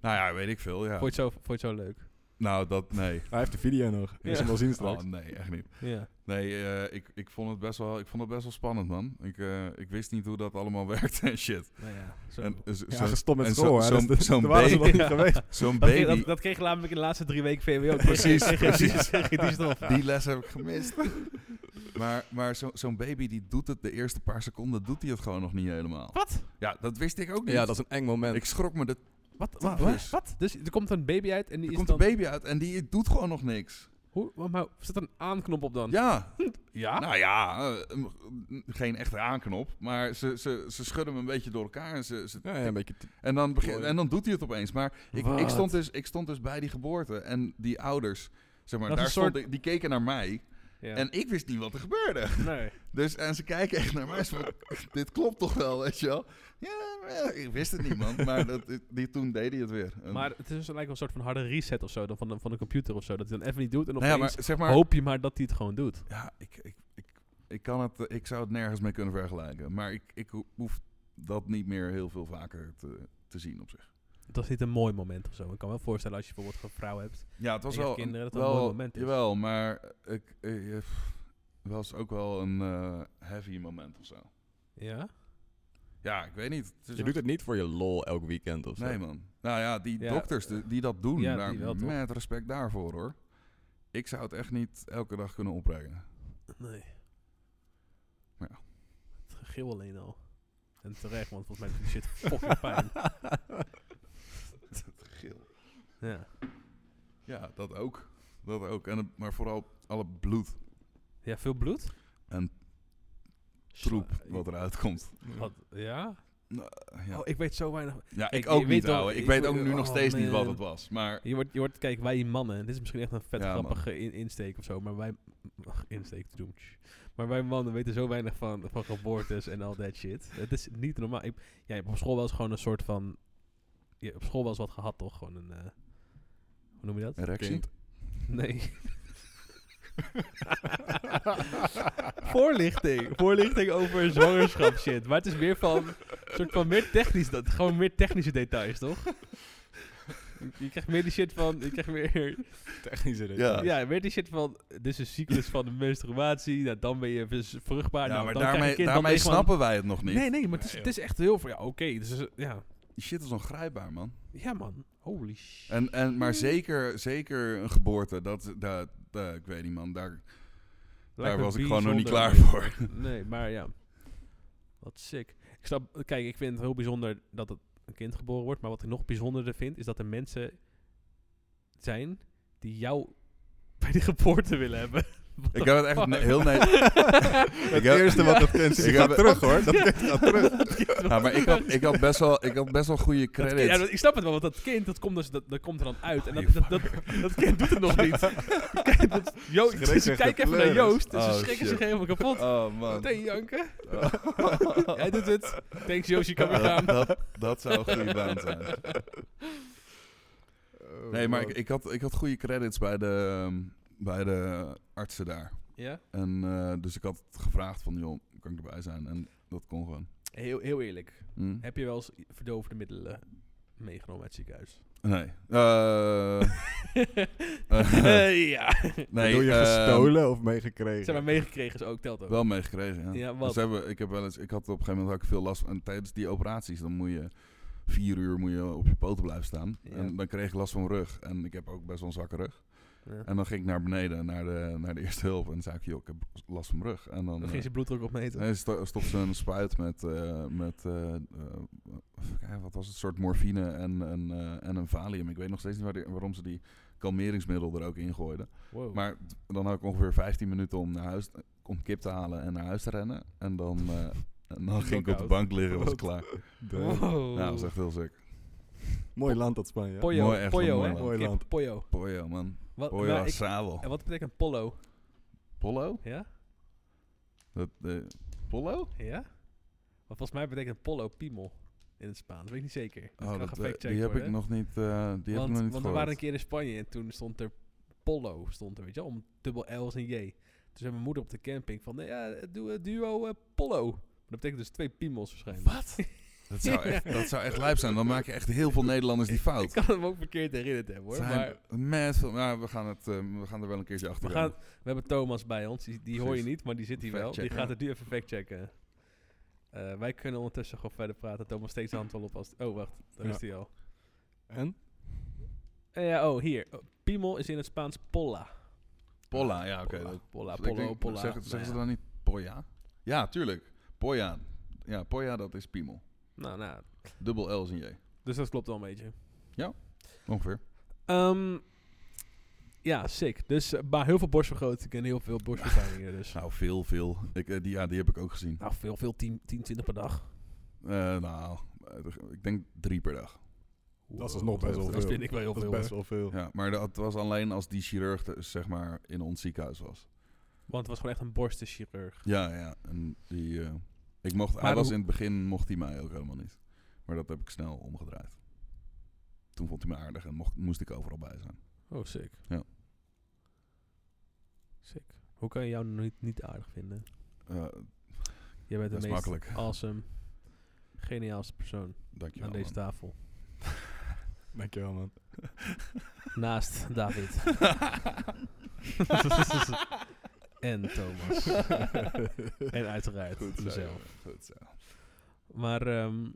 Nou ja, weet ik veel, ja.
Vond, je het zo, vond je het zo leuk?
Nou, dat...
(laughs)
Nee.
Hij heeft de video nog.
Ja.
Je moet hem wel zien
Oh,
straks.
nee, echt niet.
Ja.
Nee, eh, ik, ik, vond het best wel, ik vond het best wel spannend, man. Ik, eh, ik wist niet hoe dat allemaal (laughs) werkte en shit.
Nou ja, zo.
En, eh, zo-
ja, gestopt met
en zo-
school. hè.
zo'n-
Dus de-
zo'n
daar waren ze nog
baby-
niet
(laughs)
geweest.
Zo'n
(laughs) dat, kreeg,
baby,
dat, dat kreeg namelijk in de laatste drie weken
(laughs)
VWO.
Precies,
Kreeg je-
precies.
(laughs) kreeg je die stof.
die les heb ik gemist. (laughs) maar maar zo- zo'n baby, die doet het de eerste paar seconden, doet hij het gewoon nog niet helemaal.
Wat?
Ja, dat wist ik ook niet.
Ja, dat is een eng moment.
Ik schrok me. de-
Wat?
Wat?
Wat? Wat? Dus er komt een baby uit en die
Er
is
komt
dan...
een baby uit en die doet gewoon nog niks.
Hoe, maar- maar zit er een aanknop op dan?
Ja,
(laughs) Ja?
nou ja, eh, m- m- geen echte aanknop, maar ze, ze, ze schudden hem een beetje door elkaar en ze, ze
ja, ja, een beetje t-
En dan, begin,
Mooi.
en dan doet hij het opeens. Maar ik, ik,
Wat?
stond dus, ik stond dus bij die geboorte. En die ouders, zeg maar,
Dat
daar
is een
stond
soort-
ik- die keken naar mij.
Ja.
En ik wist niet wat er gebeurde. (laughs)
nee.
Dus, en ze kijken echt naar mij. Ze van, (laughs) dit klopt toch wel, weet je wel? Ja, maar ja, ik wist het niet, man. Maar dat, die, toen deed hij het weer. En-
Maar het is dus lijkt wel een soort van harde reset of zo dan van, de, van de computer of zo. Dat hij dan even niet doet en
nou ja,
opeens
maar zeg maar...
hoop je maar dat hij het gewoon doet.
Ja, ik, ik, ik, ik, kan het, eh, ik zou het nergens mee kunnen vergelijken. Maar ik, ik ho- hoef dat niet meer heel veel vaker te, te zien op zich.
Dat is niet een mooi moment of zo. Ik kan me wel voorstellen als je bijvoorbeeld een vrouw hebt.
Ja, het was
En je
wel,
hebt kinderen, dat het
wel
een mooi moment is.
Jawel, maar ik, eh, eh, pff, was ook wel een eh, heavy moment of zo.
Ja?
Ja, ik weet niet. Het is
je
wel-
doet het niet voor je lol elk weekend of zo.
Nee, man. Nou ja, die
Ja,
dokters de- die dat doen,
ja, die
daar,
wel, toch?
met respect daarvoor hoor. Ik zou het echt niet elke dag kunnen opbrengen.
Nee.
Maar ja.
Het gegil alleen al. En terecht, want volgens mij doet die shit fucking
(laughs)
pijn. Ja.
Ja, dat ook. Dat ook. En, het- maar vooral alle bloed
Ja, veel bloed?
en troep wat eruit komt.
Wat, ja?
Nou, Ja,
Oh, ik weet zo weinig.
ja ik
ik-
ook
je weet
niet
wel-
ouwe. Ik
ik-
weet ook nu
oh,
nog steeds niet wat
man.
het was. Maar
Je wordt, je wordt, kijk, wij mannen, en dit is misschien echt een vet
Ja, man.
grappige in- insteek of zo, maar wij, ach, insteek te doen. tsch. Maar wij mannen weten zo weinig van, van geboortes en al dat shit. Het is niet normaal. Ik, ja, je hebt op school wel eens gewoon een soort van, je hebt op school wel eens wat gehad toch? Gewoon een, eh, hoe noem je dat?
erectie?
Kind.
Nee. (laughs) voorlichting. Voorlichting over zwangerschap shit. Maar het is meer van, soort van meer technisch, dat, gewoon meer technische details toch? Je krijgt meer die shit van... Je krijgt meer
Technische reden.
Ja.
Ja, weet die shit van, dit is een cyclus van de menstruatie, nou, dan ben je dus vruchtbaar.
ja,
nou,
maar
dan krijg je
daarmee,
kind, dan
daarmee
ben je gewoon-
snappen wij het nog niet.
Nee, nee, maar het is,
Nee,
het is echt heel veel, ja, oké. dus, is- ja.
Die shit is ongrijpbaar, man.
ja, man, holy shit.
En, en, maar zeker, zeker een geboorte, dat, dat, dat- ik weet niet man, daar, daar
Lijkt me
was ik gewoon nog niet
bijzonder.
klaar voor.
Nee, maar ja, wat sick. Ik snap, kijk, ik vind het heel bijzonder dat het een kind geboren wordt, maar wat ik nog bijzonderder vind, is dat er mensen zijn die jou (laughs) bij de geboorte willen hebben. (laughs) What
Ik
the
heb het echt
fuck?
ne- (laughs) heel
(laughs)
net.
Het
heb-
eerste wat dat kind
Ik
ziet, gaat
heb-
terug hoor. Dat kind
(laughs)
gaat terug.
Ja, maar ik had, ik had best wel, ik had best wel goede
Dat kind- ja,
credits.
dat- ik snap het wel, want dat kind dat komt, dus, dat, dat komt er dan uit. En dat, dat, dat, dat kind doet het nog
(laughs)
niet. Kijk, dat, Jo-
Schrik
dus (laughs)
zich
kijk
de
even naar
pleuris.
Joost. Dus ze
Oh,
schrikken
shit.
zich helemaal kapot.
Oh man.
Meteen janken.
(laughs)
Hij doet het. Thanks Joost, je kan weer gaan.
dat, dat zou een goede baan
(laughs)
zijn.
Oh,
Nee, maar ik, ik, had, ik had goede credits bij de, ehm, bij de artsen daar.
Ja?
En, eh, dus ik had gevraagd van, joh, kan ik erbij zijn? En dat kon gewoon.
Heel, heel eerlijk.
Hm?
Heb je wel eens verdovende middelen meegenomen uit het
(laughs)
ziekenhuis? (laughs)
Nee. Eh,
Eh, ja.
nee
Doe je
ehm,
gestolen of
Ze hebben
meegekregen?
meegekregen, is ook telt ook.
Wel meegekregen, ja.
Ja,
Dus
wat?
hebben, ik, heb wel eens, ik had op een gegeven moment had ik veel last van. En tijdens die operaties, dan moet je vier uur moet je op je poten blijven staan.
Ja.
En dan kreeg ik last van mijn rug. En ik heb ook best wel een zwakke rug.
Ja.
En dan ging ik naar beneden, naar de, naar de eerste hulp. En dan zei ik, joh, ik heb last van mijn rug. En dan
Dan
eh,
ging ze bloeddruk opmeten.
nee, sto- stopte ze een spuit met, eh, met eh, eh, even kijken, wat was het, soort morfine en, en, eh, en een valium. Ik weet nog steeds niet waar die- waarom ze die kalmeringsmiddel er ook in gooiden.
Wow.
Maar d- dan had ik ongeveer 15 minuten om, naar huis, om kip te halen en naar huis te rennen. En dan, eh, en dan ging ik op de
Knockout.
bank liggen, was ik klaar. (laughs)
Damn.
Wow.
Ja, dat was echt heel sick.
Mooi land dat Spanje.
Pollo,
eh, Mooi, echt
pollo,
een mooi
hè?
land.
Mooi
Kip,
land.
pollo.
Pollo, man.
Wat,
Pollo
maar ik-
asabel.
en wat betekent pollo?
Pollo?
Ja?
Dat, eh, pollo?
Ja? Maar volgens mij betekent pollo piemel in het Spaans. Weet ik niet zeker. Dat
Oh,
kan
dat, eh,
gefactcheckt
die heb ik
worden.
nog niet, eh, die heb ik nog
want
niet
want we
gehoord.
waren een keer in Spanje en toen stond er pollo, stond er, weet je wel, om dubbel L's en J. Toen zei mijn moeder op de camping van, nee, ja, doe eh, duo eh, pollo. Dat betekent dus twee piemels waarschijnlijk. Wat?
dat, zou
(laughs)
echt, dat zou echt lijp zijn. Dan maken echt heel veel Nederlanders die
Ik
fout.
kan hem ook verkeerd herinnerd hebben hoor.
Het zijn
Maar
mad veel- nou, we gaan, het, eh, we gaan er wel een keertje achter
we, gaan, we hebben Thomas bij ons, die, die hoor je
Precies.
niet, maar die zit hier wel. Die
Factchecken.
gaat het nu even factchecken. Eh, wij kunnen ondertussen gewoon verder praten. Thomas steekt zijn hand wel op als... Oh, wacht. Daar
Ja.
is hij al.
En?
Eh, ja, oh, hier. Oh, Piemel is in het Spaans polla.
Polla, ja, oké.
Polla,
dat- dus
polla,
ik
pollo,
denk-
polla.
Zeggen, zeggen
Nou
ze
ja.
dan niet poja? Ja, tuurlijk. Poja. Ja, poja, dat is piemel.
Nou, nou,
Dubbel L's en J.
dus dat klopt wel een beetje.
Ongeveer.
Ehm, ja, sick. Dus, eh, maar heel veel borstvergroting en heel veel borstverfijningen dus.
Nou, veel, veel. Ik, eh, die, ja, die heb ik ook gezien.
Nou, veel, veel 10, 10 20 per dag.
Eh, nou, eh, ik denk drie per dag.
Dat is nog best wel
Dat
veel.
vind ik wel heel
Dat is
veel.
best
hoor.
wel veel.
Ja, maar dat was alleen als die chirurg dus, zeg maar in ons ziekenhuis was.
Want het was gewoon echt een borstenchirurg.
Ja, ja. En die, eh, ik mocht, hij
Maar
was
hoe-
in het begin, mocht hij mij ook helemaal niet. Maar dat heb ik snel omgedraaid. Toen vond hij me aardig en mocht, moest ik overal bij zijn.
Oh, sick.
Ja.
Sick. Hoe kan je jou nou niet, niet aardig vinden?
Eh
Jij bent de
dat is
meest
makkelijk.
awesome, geniaalste persoon
Dankjewel.
aan deze
man.
tafel.
Dankjewel man.
(laughs)
Naast David. en
(laughs)
Thomas. en uiteraard mezelf.
Goed zo.
Maar, ehm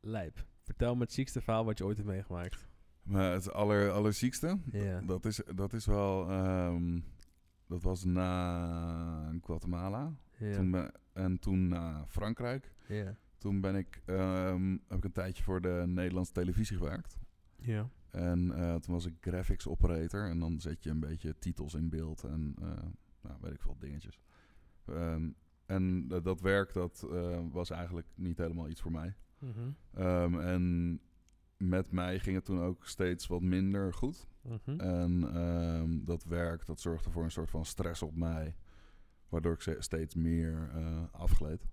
Lijp, vertel me het ziekste verhaal wat je ooit hebt meegemaakt.
Maar het aller, allerziekste,
Ja.
dat is, dat is wel... ehm, dat was na Guatemala. Toen
Ja.
ben- en toen naar Frankrijk.
Ja.
Toen ben ik, ehm, heb ik een tijdje voor de Nederlandse televisie gewerkt.
Ja.
En eh, toen was ik graphics operator. En dan zet je een beetje titels in beeld en eh, nou, weet ik veel dingetjes. Ehm, en dat- dat werk dat, eh, was eigenlijk niet helemaal iets voor mij.
Mhm.
Ehm, en met mij ging het toen ook steeds wat minder goed.
Mhm.
En ehm, dat werk dat zorgde voor een soort van stress op mij. Waardoor ik ze- steeds meer eh, afgleed.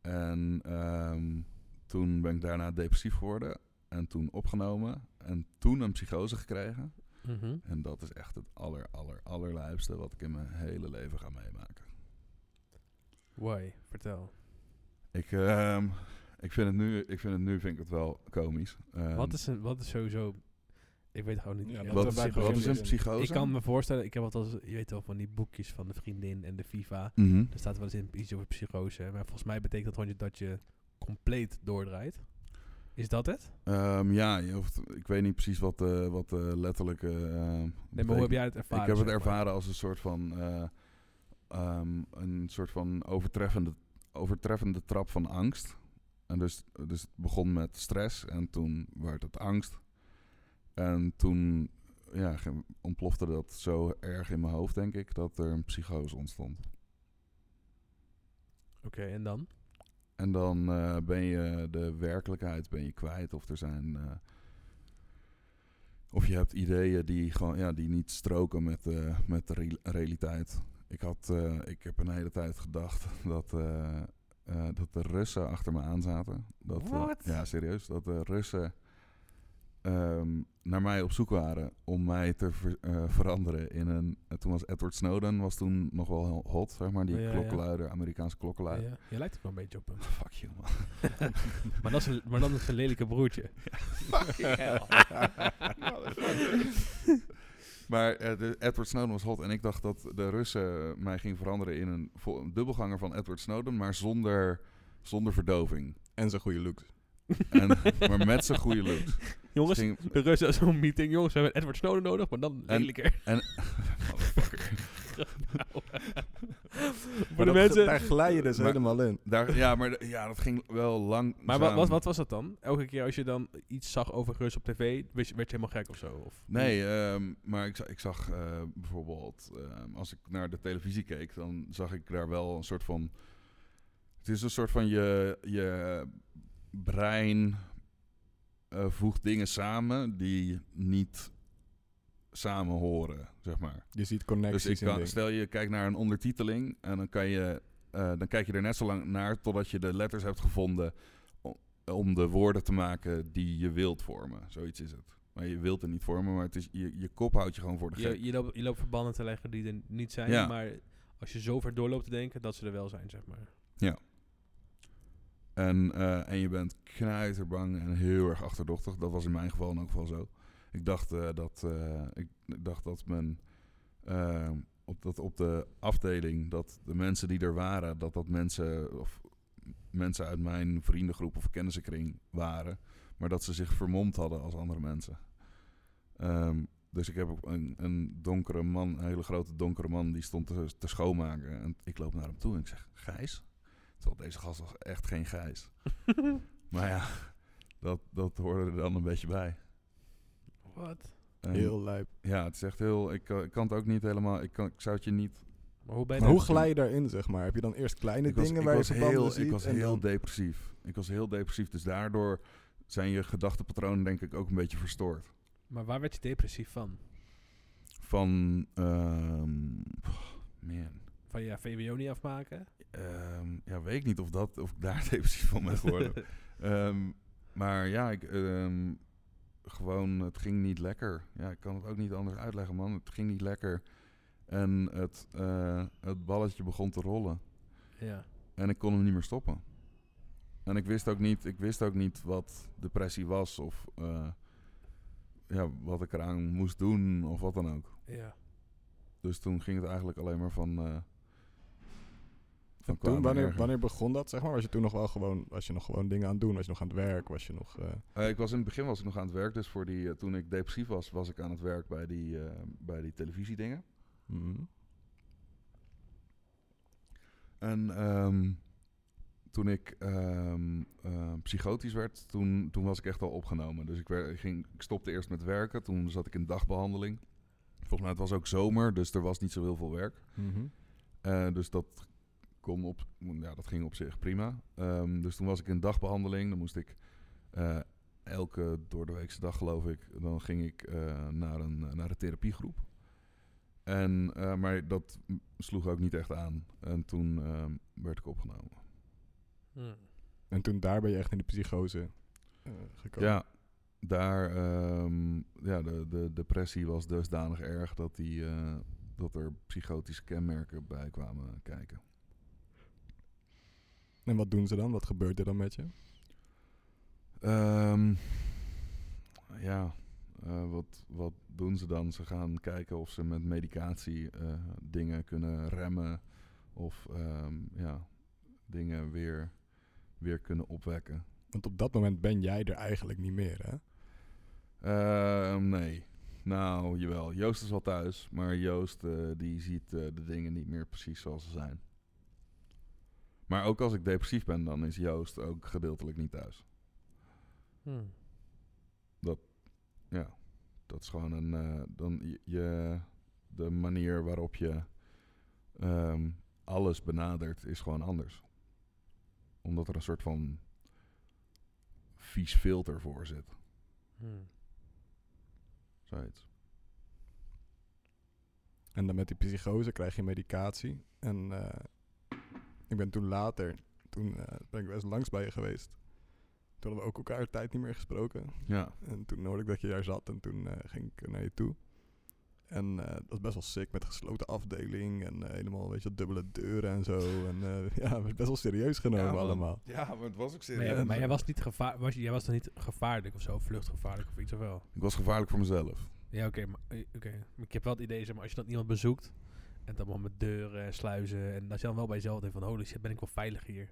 En ehm, toen ben ik daarna depressief geworden. En toen opgenomen. En toen een psychose gekregen.
Mhm.
En dat is echt het aller, aller, allerlijpste wat ik in mijn hele leven ga meemaken.
Why? Vertel.
Ik, ehm, Ik vind het nu, ik vind het, nu vind ik het wel komisch. Ehm,
wat, is een, wat is sowieso... Ik weet gewoon niet.
Ja,
eh,
dat
wat
daarbij
is, wat is een
begint.
psychose?
ik kan me voorstellen, ik heb altijd, je weet wel, van die boekjes van de vriendin en de FIFA.
Mhm.
Er staat wel eens in iets over psychose. Maar volgens mij betekent dat gewoon je- dat je compleet doordraait. Is dat het?
Ehm, ja, je hoeft, ik weet niet precies wat de, wat eh, de letterlijke... ehm,
Nee, maar hoe
betekenis-
heb jij het ervaren?
ik heb het
zeg maar?
ervaren als een soort van, eh, ehm, een soort van overtreffende, overtreffende trap van angst. En dus, dus het begon met stress en toen werd het angst. En toen ja, ge- ontplofte dat zo erg in mijn hoofd, denk ik, dat er een psychose ontstond.
Oké, en dan?
En dan eh, ben je de werkelijkheid ben je kwijt. Of er zijn. eh, of je hebt ideeën die, gewoon, ja, die niet stroken met, eh, met de real- realiteit. Ik, had, eh, ik heb een hele tijd gedacht (laughs) dat, eh, eh, dat de Russen achter me aan zaten. Dat, eh,
What?
ja, serieus. Dat de Russen ehm, naar mij op zoek waren om mij te ver- eh, veranderen in een... eh, toen was Edward Snowden was toen nog wel heel hot, zeg maar. Die
Ja, ja.
klokkenluider, Amerikaanse klokkenluider.
Ja, je lijkt ook wel een beetje op hem.
Fuck you, man.
maar, dat is een, maar dan is het een lelijke broertje.
(laughs) maar eh, de Edward Snowden was hot en ik dacht dat de Russen mij ging veranderen in een, vo- een dubbelganger van Edward Snowden, maar zonder, zonder verdoving.
En zijn goede looks.
En, maar met zijn goede looks.
Jongens,
Ging-
de Russen als zo'n meeting. Jongens, we hebben Edward Snowden nodig, maar dan
En- (laughs)
lelijker.
Motherfucker.
Voor de mensen...
Daar glij je dus
Maar-
helemaal in.
Daar, ja, maar de- ja, dat ging wel lang.
Maar wat, wat, wat was dat dan? Elke keer als je dan iets zag over Rus op tv, werd je, werd je helemaal gek of zo? Of?
Nee, ehm, maar ik, za- ik zag eh, bijvoorbeeld, ehm, als ik naar de televisie keek, dan zag ik daar wel een soort van. Het is een soort van je, je brein eh, voegt dingen samen die niet samen horen, zeg maar.
Je ziet
Dus
connecties
ik
in
kan,
dingen.
stel je kijkt naar een ondertiteling en dan kan je, eh, dan kijk je er net zo lang naar totdat je de letters hebt gevonden o- om de woorden te maken die je wilt vormen. Zoiets is het. Maar je wilt het niet vormen, maar het is, je, je kop houdt je gewoon voor de gek.
Je, je, loopt, je loopt verbanden te leggen die er niet zijn,
Ja.
maar als je zo ver doorloopt te denken, dat ze er wel zijn, zeg maar.
En, eh, en je bent knijterbang en heel erg achterdochtig. Dat was in mijn geval in elk geval zo. Ik dacht eh, dat eh, ik dacht dat men eh, op, dat op de afdeling dat de mensen die er waren, dat dat mensen of mensen uit mijn vriendengroep of kennissenkring waren, maar dat ze zich vermomd hadden als andere mensen. Ehm, dus ik heb ook een, een donkere man, een hele grote donkere man, die stond te, te schoonmaken. En ik loop naar hem toe en ik zeg: Gijs? Terwijl deze gast was echt geen Gijs. maar ja, dat, dat hoorde er dan een beetje bij.
Wat?
En-
Heel lijp.
ja, het is echt heel. Ik, eh, ik kan het ook niet helemaal. Ik, kan, ik zou het je niet.
Maar hoe ben je
Maar hoe
daar-
glij je daarin, zeg maar? Heb je dan eerst kleine
ik was,
dingen
ik
waar
was
je verbanden
heel,
ziet?
ik was
en
heel
dan-
depressief. Ik was heel depressief. Dus daardoor zijn je gedachtenpatronen denk ik ook een beetje verstoord.
Maar waar werd je depressief van?
Van. ehm, pff, man.
Van ja, VWO niet afmaken?
Ehm, ja, weet ik niet of, dat, of ik daar (laughs) depressief van ben geworden.
(laughs)
Ehm, maar ja, ik, ehm, gewoon, het ging niet lekker. Ja, ik kan het ook niet anders uitleggen, man. Het ging niet lekker. En het, eh, het balletje begon te rollen.
Ja.
En ik kon hem niet meer stoppen. En ik wist ook niet, ik wist ook niet wat depressie was of eh, ja, wat ik eraan moest doen of wat dan ook.
ja.
Dus toen ging het eigenlijk alleen maar van. eh, van
En toen,
kwaad naar
wanneer,
erger.
wanneer begon dat, zeg maar? Was je toen nog wel gewoon, was je nog gewoon dingen aan het doen? Was je nog aan het werk? Was je nog... eh,
Eh, ik was in het begin was ik nog aan het werk, dus voor die, eh, toen ik depressief was, was ik aan het werk bij die, eh, bij die televisiedingen. Mm-hmm.
mhm.
En ehm, toen ik ehm, eh, psychotisch werd, toen, toen was ik echt al opgenomen. Dus ik, wer- ik ging, ik stopte eerst met werken, toen zat ik in dagbehandeling. Volgens mij het was ook zomer, dus er was niet zo heel veel werk.
Mhm.
Eh, dus dat, kon op, ja, dat ging op zich prima. Ehm, dus toen was ik in dagbehandeling. Dan moest ik eh, elke door de weekse dag, geloof ik, dan ging ik eh, naar, een, naar een therapiegroep. En, eh, maar dat m- sloeg ook niet echt aan. En toen ehm, werd ik opgenomen.
Hm.
En toen daar ben je echt in de psychose eh, gekomen.
Ja, daar, ehm, ja de, de depressie was dusdanig erg dat, die, eh, dat er psychotische kenmerken bij kwamen kijken.
En wat doen ze dan? Wat gebeurt er dan met je?
Ehm, ja, eh, wat, wat doen ze dan? Ze gaan kijken of ze met medicatie eh, dingen kunnen remmen. Of ehm, ja, dingen weer, weer kunnen opwekken.
Want op dat moment ben jij er eigenlijk niet meer, hè?
Ehm, nee. Nou, jawel. Joost is wel thuis. Maar Joost eh, die ziet eh, de dingen niet meer precies zoals ze zijn. Maar ook als ik depressief ben, dan is Joost ook gedeeltelijk niet thuis.
Hmm.
Ja, dat is gewoon een. eh, dan je- je, de manier waarop je ehm, alles benadert is gewoon anders. Omdat er een soort van vies filter voor zit.
Hmm.
Zoiets.
En dan met die psychose krijg je medicatie. En eh, ik ben toen later, toen eh, ben ik best langs bij je geweest. Toen hadden we ook elkaar tijd niet meer gesproken.
Ja,
En toen hoorde ik dat je daar zat en toen eh, ging ik naar je toe. En eh, dat was best wel sick met gesloten afdeling en eh, helemaal, weet je, wel, dubbele deuren en zo. En eh, (laughs) ja, het werd best wel serieus genomen
Ja, man.
allemaal.
ja maar het was ook
Maar, jij, maar jij was niet gevaar, was, jij was dan niet gevaarlijk of zo, vluchtgevaarlijk of iets of wel?
Ik was gevaarlijk voor mezelf.
Ja, oké, maar, eh, oké. maar ik heb wel het idee, zeg maar, als je dat iemand bezoekt, en dan wel met deuren en sluizen, en dat je dan wel bij jezelf denkt van, holy shit, ben ik wel veilig hier.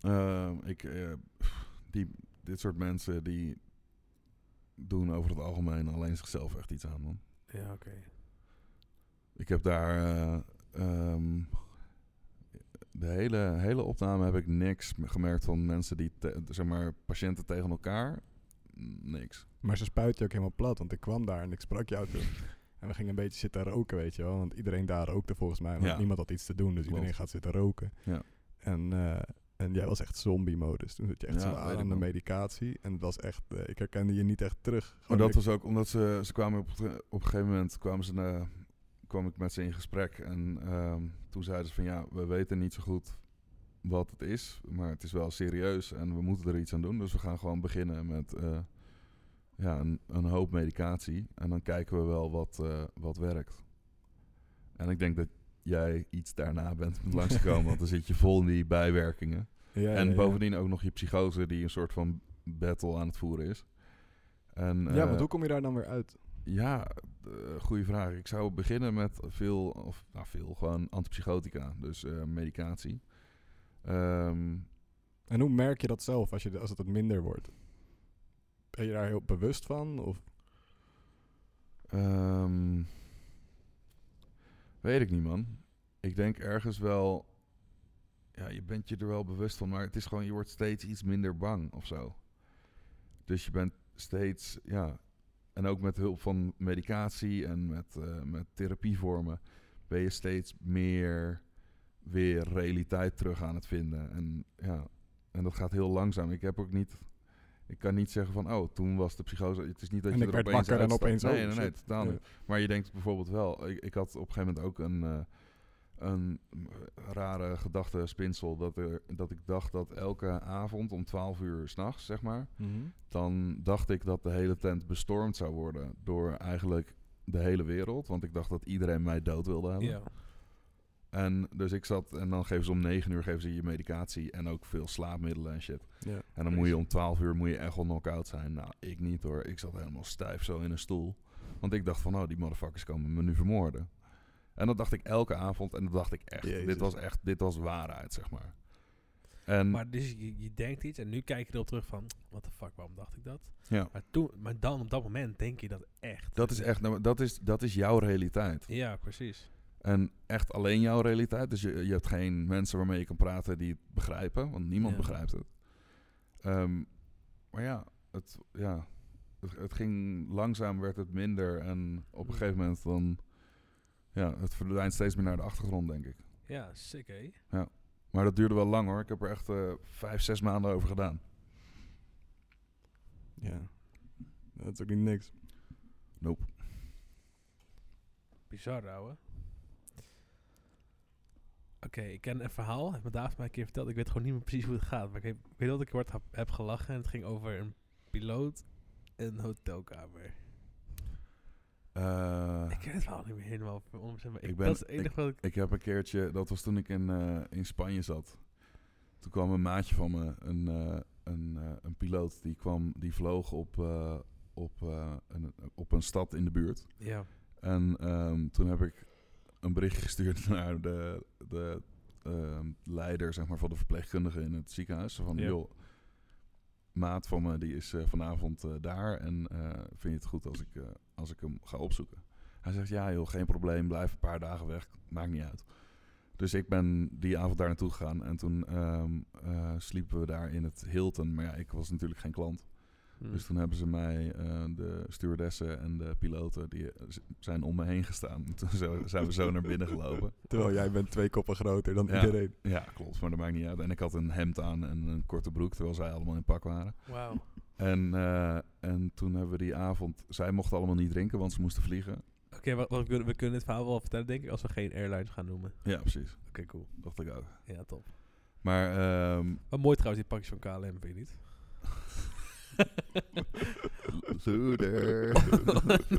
Ehm, ik, eh, pff, die, dit soort mensen die doen over het algemeen alleen zichzelf echt iets aan, man.
Ja, oké.
Ik heb daar eh, ehm, de hele, hele opname heb ik niks gemerkt van mensen die, te- zeg maar, patiënten tegen elkaar. Niks.
Maar ze spuit je ook helemaal plat, want ik kwam daar en ik sprak jou toen.
(laughs)
En we gingen een beetje zitten roken, weet je wel. Want iedereen daar rookte volgens mij, want
Ja.
niemand had iets te doen. Dus
Klopt.
iedereen gaat zitten roken.
Ja.
En, eh, en jij was echt zombie-modus. Toen zat je echt
Ja,
zo
weet
aan,
ik
aan de
nog.
medicatie. En het was echt, eh, ik herkende je niet echt terug.
Maar
Gewoon,
dat
ik-
was ook omdat ze, ze kwamen op, op een gegeven moment kwamen ze naar, kwam ik met ze in gesprek. En ehm, toen zeiden ze van ja, we weten niet zo goed wat het is, maar het is wel serieus en we moeten er iets aan doen. Dus we gaan gewoon beginnen met eh, ja, een, een hoop medicatie en dan kijken we wel wat, eh, wat werkt. En ik denk dat jij iets daarna bent (laughs) met langskomen, want dan zit je vol in die bijwerkingen.
Ja,
en
ja, ja.
bovendien ook nog je psychose die een soort van battle aan het voeren is. En,
ja,
eh,
want hoe kom je daar dan weer uit?
ja, eh, goede vraag. Ik zou beginnen met veel, of nou veel, gewoon antipsychotica, dus eh, medicatie. Ehm,
En hoe merk je dat zelf als, je, als het wat minder wordt? Ben je daar heel bewust van? Of
ehm, weet ik niet, man. Ik denk ergens wel, ja, je bent je er wel bewust van, maar het is gewoon, je wordt steeds iets minder bang of zo. Dus je bent steeds, ja, en ook met hulp van medicatie en met, eh, met therapievormen ben je steeds meer weer realiteit terug aan het vinden. En ja, en dat gaat heel langzaam. Ik heb ook niet, ik kan niet zeggen van, oh, toen was de psychose. Het is niet dat
En
je
ik
er
werd
opeens
wakker en
uitstapt.
opeens,
Nee,
oh,
nee, nee,
shit.
totaal
Ja.
niet. Maar je denkt bijvoorbeeld wel, ik, ik had op een gegeven moment ook een, eh, een mm, rare gedachtespinsel dat, er, dat ik dacht dat elke avond om 12 uur s'nachts, zeg maar, dan dacht ik dat de hele tent bestormd zou worden door eigenlijk de hele wereld. Want ik dacht dat iedereen mij dood wilde hebben.
Ja.
En dus ik zat, en dan geven ze om 9 uur geven ze je medicatie en ook veel slaapmiddelen en shit.
ja.
En dan moet je om 12 uur moet je echt al knock-out zijn. Nou, ik niet hoor. Ik zat helemaal stijf zo in een stoel. Want ik dacht van, oh, die motherfuckers komen me nu vermoorden. En dat dacht ik elke avond. En dat dacht ik echt.
Jezus.
Dit was echt, dit was waarheid, zeg maar. En
Maar dus je, je denkt iets en nu kijk je erop terug van, what the fuck, waarom dacht ik dat?
Ja.
Maar, toen, maar dan, op dat moment, denk je dat echt.
dat is echt, nou, dat is, dat is jouw realiteit.
Ja, precies.
En echt alleen jouw realiteit. Dus je, je hebt geen mensen waarmee je kan praten die het begrijpen. Want niemand
Ja.
begrijpt het. Ehm, maar ja, het, ja het, het ging langzaam, werd het minder. En op een
Ja.
gegeven moment dan... Ja, het verdwijnt steeds meer naar de achtergrond, denk ik.
Ja, sick, hé.
Maar dat duurde wel lang, hoor. Ik heb er echt eh, vijf, zes maanden over gedaan.
ja. Dat is ook niet niks.
Nope.
Bizar, ouwe. Oké, ik ken een verhaal. Heb me David mij een keer verteld. Ik weet gewoon niet meer precies hoe het gaat. Maar ik, heb- ik weet dat ik kort heb, heb gelachen. En het ging over een piloot en een hotelkamer.
Eh,
Ik ken het verhaal niet meer helemaal 100%. Maar ik,
Ik ben-
dat is het enige wat ik...
Ik heb een keertje, dat was toen ik in, eh, in Spanje zat. Toen kwam een maatje van me een, eh, een, eh, een piloot die kwam, die vloog op, eh, op, eh, een, op een stad in de buurt.
Ja.
En ehm, toen heb ik een bericht gestuurd (laughs) naar de, de ehm, leider zeg maar, van de verpleegkundige in het ziekenhuis. Zo Van,
Ja.
joh, maat van me die is eh, vanavond eh, daar en eh, vind je het goed als ik, eh, als ik hem ga opzoeken? Hij zegt, ja joh, geen probleem, blijf een paar dagen weg, maakt niet uit. Dus ik ben die avond daar naartoe gegaan en toen ehm, eh, sliepen we daar in het Hilton. Maar ja, ik was natuurlijk geen klant.
Hm.
Dus toen hebben ze mij, eh, de stewardessen en de piloten, die eh, z- zijn om me heen gestaan. (laughs) Toen zo- zijn we zo naar binnen gelopen.
Terwijl jij bent twee koppen groter dan
Oh. Ja.
iedereen.
Ja, klopt, maar dat maakt niet uit. En ik had een hemd aan en een korte broek, terwijl zij allemaal in pak waren.
Wauw. Oké.
En, eh, en toen hebben we die avond, zij mochten allemaal niet drinken, want ze moesten vliegen.
wa- want we kunnen, we kunnen het verhaal wel vertellen, denk ik, als we geen airlines gaan noemen. Oké,
Ja, precies.
cool.
Dacht ik ook.
Ja, top.
Maar ehm,
Wat mooi trouwens, die pakjes van KLM, vind
(laughs)
je niet? (laughs)
Loeder.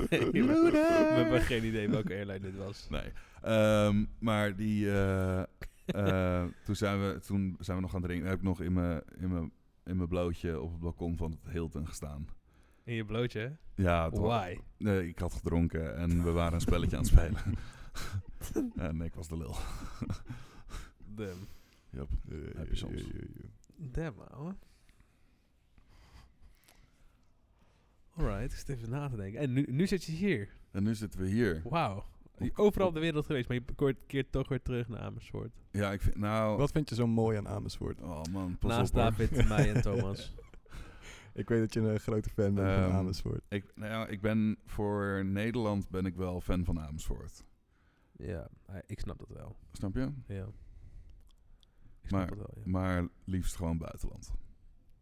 nee, maar- we hebben geen idee welke airline dit was.
Nee. Ehm, maar die. eh, (laughs) eh, toen, zijn we, toen zijn we nog gaan drinken. Heb ik nog in mijn, in, mijn, in mijn blootje op het balkon van het Hilton gestaan.
In je blootje, hè?
Ja, het wa-
Why?
nee, ik had gedronken en we waren een spelletje aan het spelen.
(laughs)
en ik was de lul.
Damn.
Yup.
Eh,
Heb je soms.
eh, eh, eh, eh.
Damn, ouwe. Alright, ik zit even na te denken. En nu, nu zit je hier.
En nu zitten we hier.
Wauw. Je bent Overal op de wereld geweest, maar je keert- keert toch weer terug naar Amersfoort.
Ja, ik vind. Nou.
Wat vind je zo mooi aan Amersfoort?
Oh man, pas
Naast
op, hoor.
David, mij
(laughs)
en Thomas.
Ik weet dat je een grote fan bent
Ehm,
van Amersfoort.
Ik, nou ja, ik ben voor Nederland ben ik wel fan van Amersfoort.
ja, eh, ik snap dat wel.
Snap je?
Ja. Ik snap
Maar-
dat wel, ja.
Maar liefst gewoon buitenland.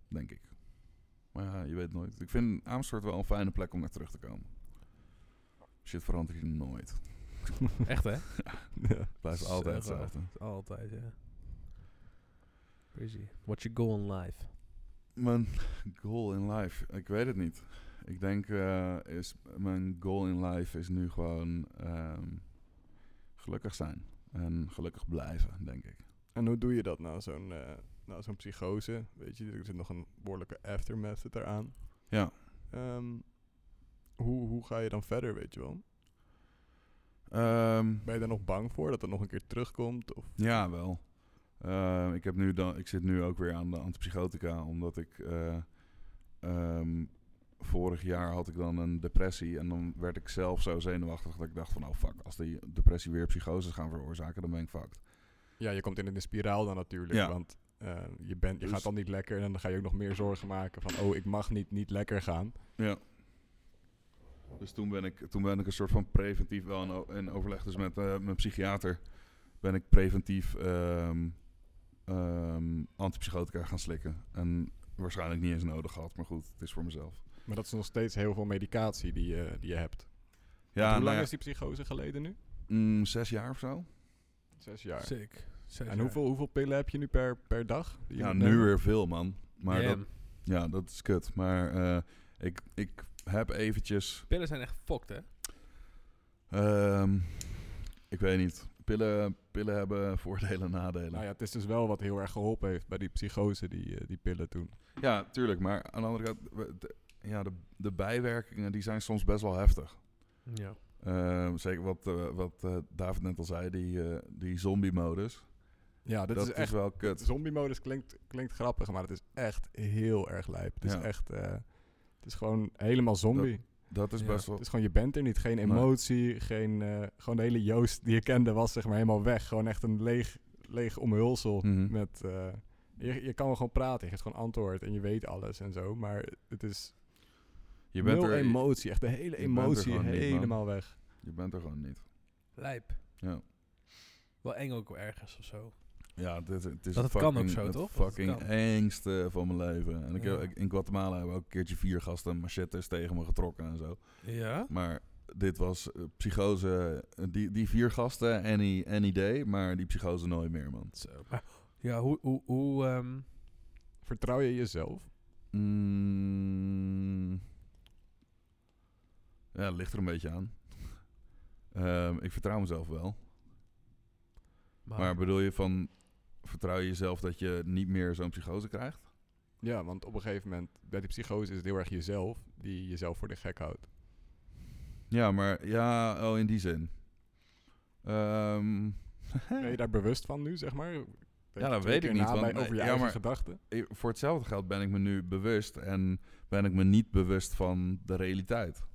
Denk ik. Maar ja, je weet nooit. Ik vind Amersfoort wel een fijne plek om naar terug te komen. Shit verandert hier nooit.
Echt, hè?
Ja.
(laughs) Het blijft
Zo
altijd
raar.
hetzelfde.
Altijd, ja. Crazy. What's your goal in life?
Mijn goal in life, ik weet het niet. Ik denk, eh, is, mijn goal in life is nu gewoon ehm, gelukkig zijn. En gelukkig blijven, denk ik.
En hoe doe je dat na zo'n eh, na zo'n psychose? Weet je, er zit nog een behoorlijke aftermath zit eraan.
Ja.
Ehm, hoe, hoe ga je dan verder, weet je wel?
Ehm,
Ben je daar nog bang voor dat het nog een keer terugkomt? Of
Ja, wel. Eh, ik, heb nu dan, ik zit nu ook weer aan de antipsychotica, omdat ik... eh, ehm, vorig jaar had ik dan een depressie en dan werd ik zelf zo zenuwachtig dat ik dacht van... Oh fuck, als die depressie weer psychoses gaan veroorzaken, dan ben ik fucked.
ja, je komt in een spiraal dan natuurlijk.
Ja.
Want eh, je, bent, je
Dus-
gaat dan niet lekker en dan ga je ook nog meer zorgen maken van... Oh, ik mag niet niet lekker gaan.
Dus toen ben ik, toen ben ik een soort van preventief wel in, o- in overleg. Dus met eh, mijn psychiater ben ik preventief ehm, ehm, antipsychotica gaan slikken. En waarschijnlijk niet eens nodig gehad, maar goed, het is voor mezelf.
Maar dat is nog steeds heel veel medicatie die, je die je hebt.
Ja,
Want
nou
hoe lang
ja,
is die psychose geleden nu?
mm, zes jaar of zo.
Zes jaar.
Sick.
en hoeveel, hoeveel pillen heb je nu per, per dag? die je
Ja,
moet
nu
nemen?
weer veel, man. Maar dat, ja, dat is kut. Maar eh, ik, ik heb eventjes...
Pillen zijn echt fucked, hè?
ehm, ik weet niet. Pillen, pillen hebben (laughs) voordelen en nadelen.
Nou
ja.
ja, het is dus wel wat heel erg geholpen heeft bij die psychose, die, eh, die pillen toen.
tuurlijk. Maar aan de andere kant... we- de- ja, de, de bijwerkingen die zijn soms best wel heftig.
Ja.
Ehm, zeker wat, eh, wat eh, David net al zei, die, eh, die zombie-modus.
Ja, dit
Dat
is echt...
wel kut.
Zombie-modus klinkt, klinkt grappig, maar het is echt heel erg lijp. Het
Ja.
is echt... eh, het is gewoon helemaal zombie.
Dat is
Ja,
best wel...
het is gewoon, je bent er niet. Geen emotie, geen... eh, gewoon de hele Joost die je kende was zeg maar helemaal weg. Gewoon echt een leeg, leeg omhulsel
Mhm.
met... eh, je, je kan wel gewoon praten, je geeft gewoon antwoord en je weet alles en zo. Maar het is
Je bent,
nul
er, je,
emotie. Echt de hele
bent er
emotie
gewoon niet, man.
helemaal weg.
bent er gewoon niet.
Lijp.
Ja.
Wel eng ook ergens of zo.
Ja, dit, het is
Dat
het
het kan ook
fucking,
zo,
het
toch? Dat het
fucking
kan.
engste van mijn leven. En ik heb,
Ja.
ik- in Guatemala hebben ook een keertje vier gasten machetes tegen me getrokken en zo.
Ja?
Maar dit was eh, psychose. eh, Die, die vier gasten, any, any day, maar die psychose nooit meer, man.
Zo. Maar, ja, hoe... hoe, hoe ehm,
Vertrouw je jezelf?
Mm. Ja, het ligt er een beetje aan. Ehm, ik vertrouw mezelf wel. Maar bedoel je van, vertrouw je jezelf dat je niet meer zo'n psychose krijgt?
Ja, want op een gegeven moment, bij die psychose is het heel erg jezelf die jezelf voor de gek houdt.
Ja, maar ja, oh, in die zin. Ehm,
Ben je daar bewust van nu, zeg maar?
Ja, dat weet ik niet,
Want,
want-
over je
ja,
eigen
maar-
gedachten.
i- voor hetzelfde geld ben ik me nu bewust en ben ik me niet bewust van de realiteit.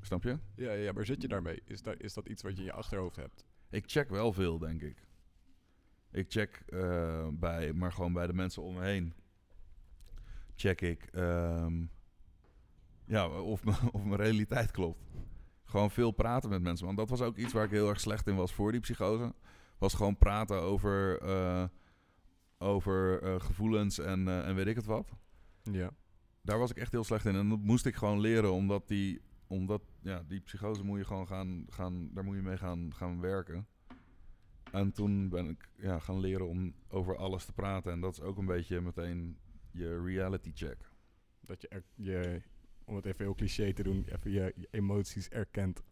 Snap je?
Ja, ja, maar zit je daarmee? Is, daar, is dat iets wat je in je achterhoofd hebt?
Ik check wel veel, denk ik. Ik check eh, bij, maar gewoon bij de mensen om me heen. Check ik ehm, ja, of, m- (laughs) of mijn realiteit klopt. Gewoon veel praten met mensen. Want dat was ook iets waar ik heel erg slecht in was voor die psychose. Was gewoon praten over, eh, over eh, gevoelens en, eh, en weet ik het wat.
Ja.
Daar was ik echt heel slecht in. En dat moest ik gewoon leren, omdat die, omdat, ja, die psychose moet je gewoon gaan, gaan daar moet je mee gaan, gaan werken. En toen ben ik ja, gaan leren om over alles te praten. En dat is ook een beetje meteen je reality check.
Dat je, er- je, om het even heel cliché te doen, even je, je emoties erkent.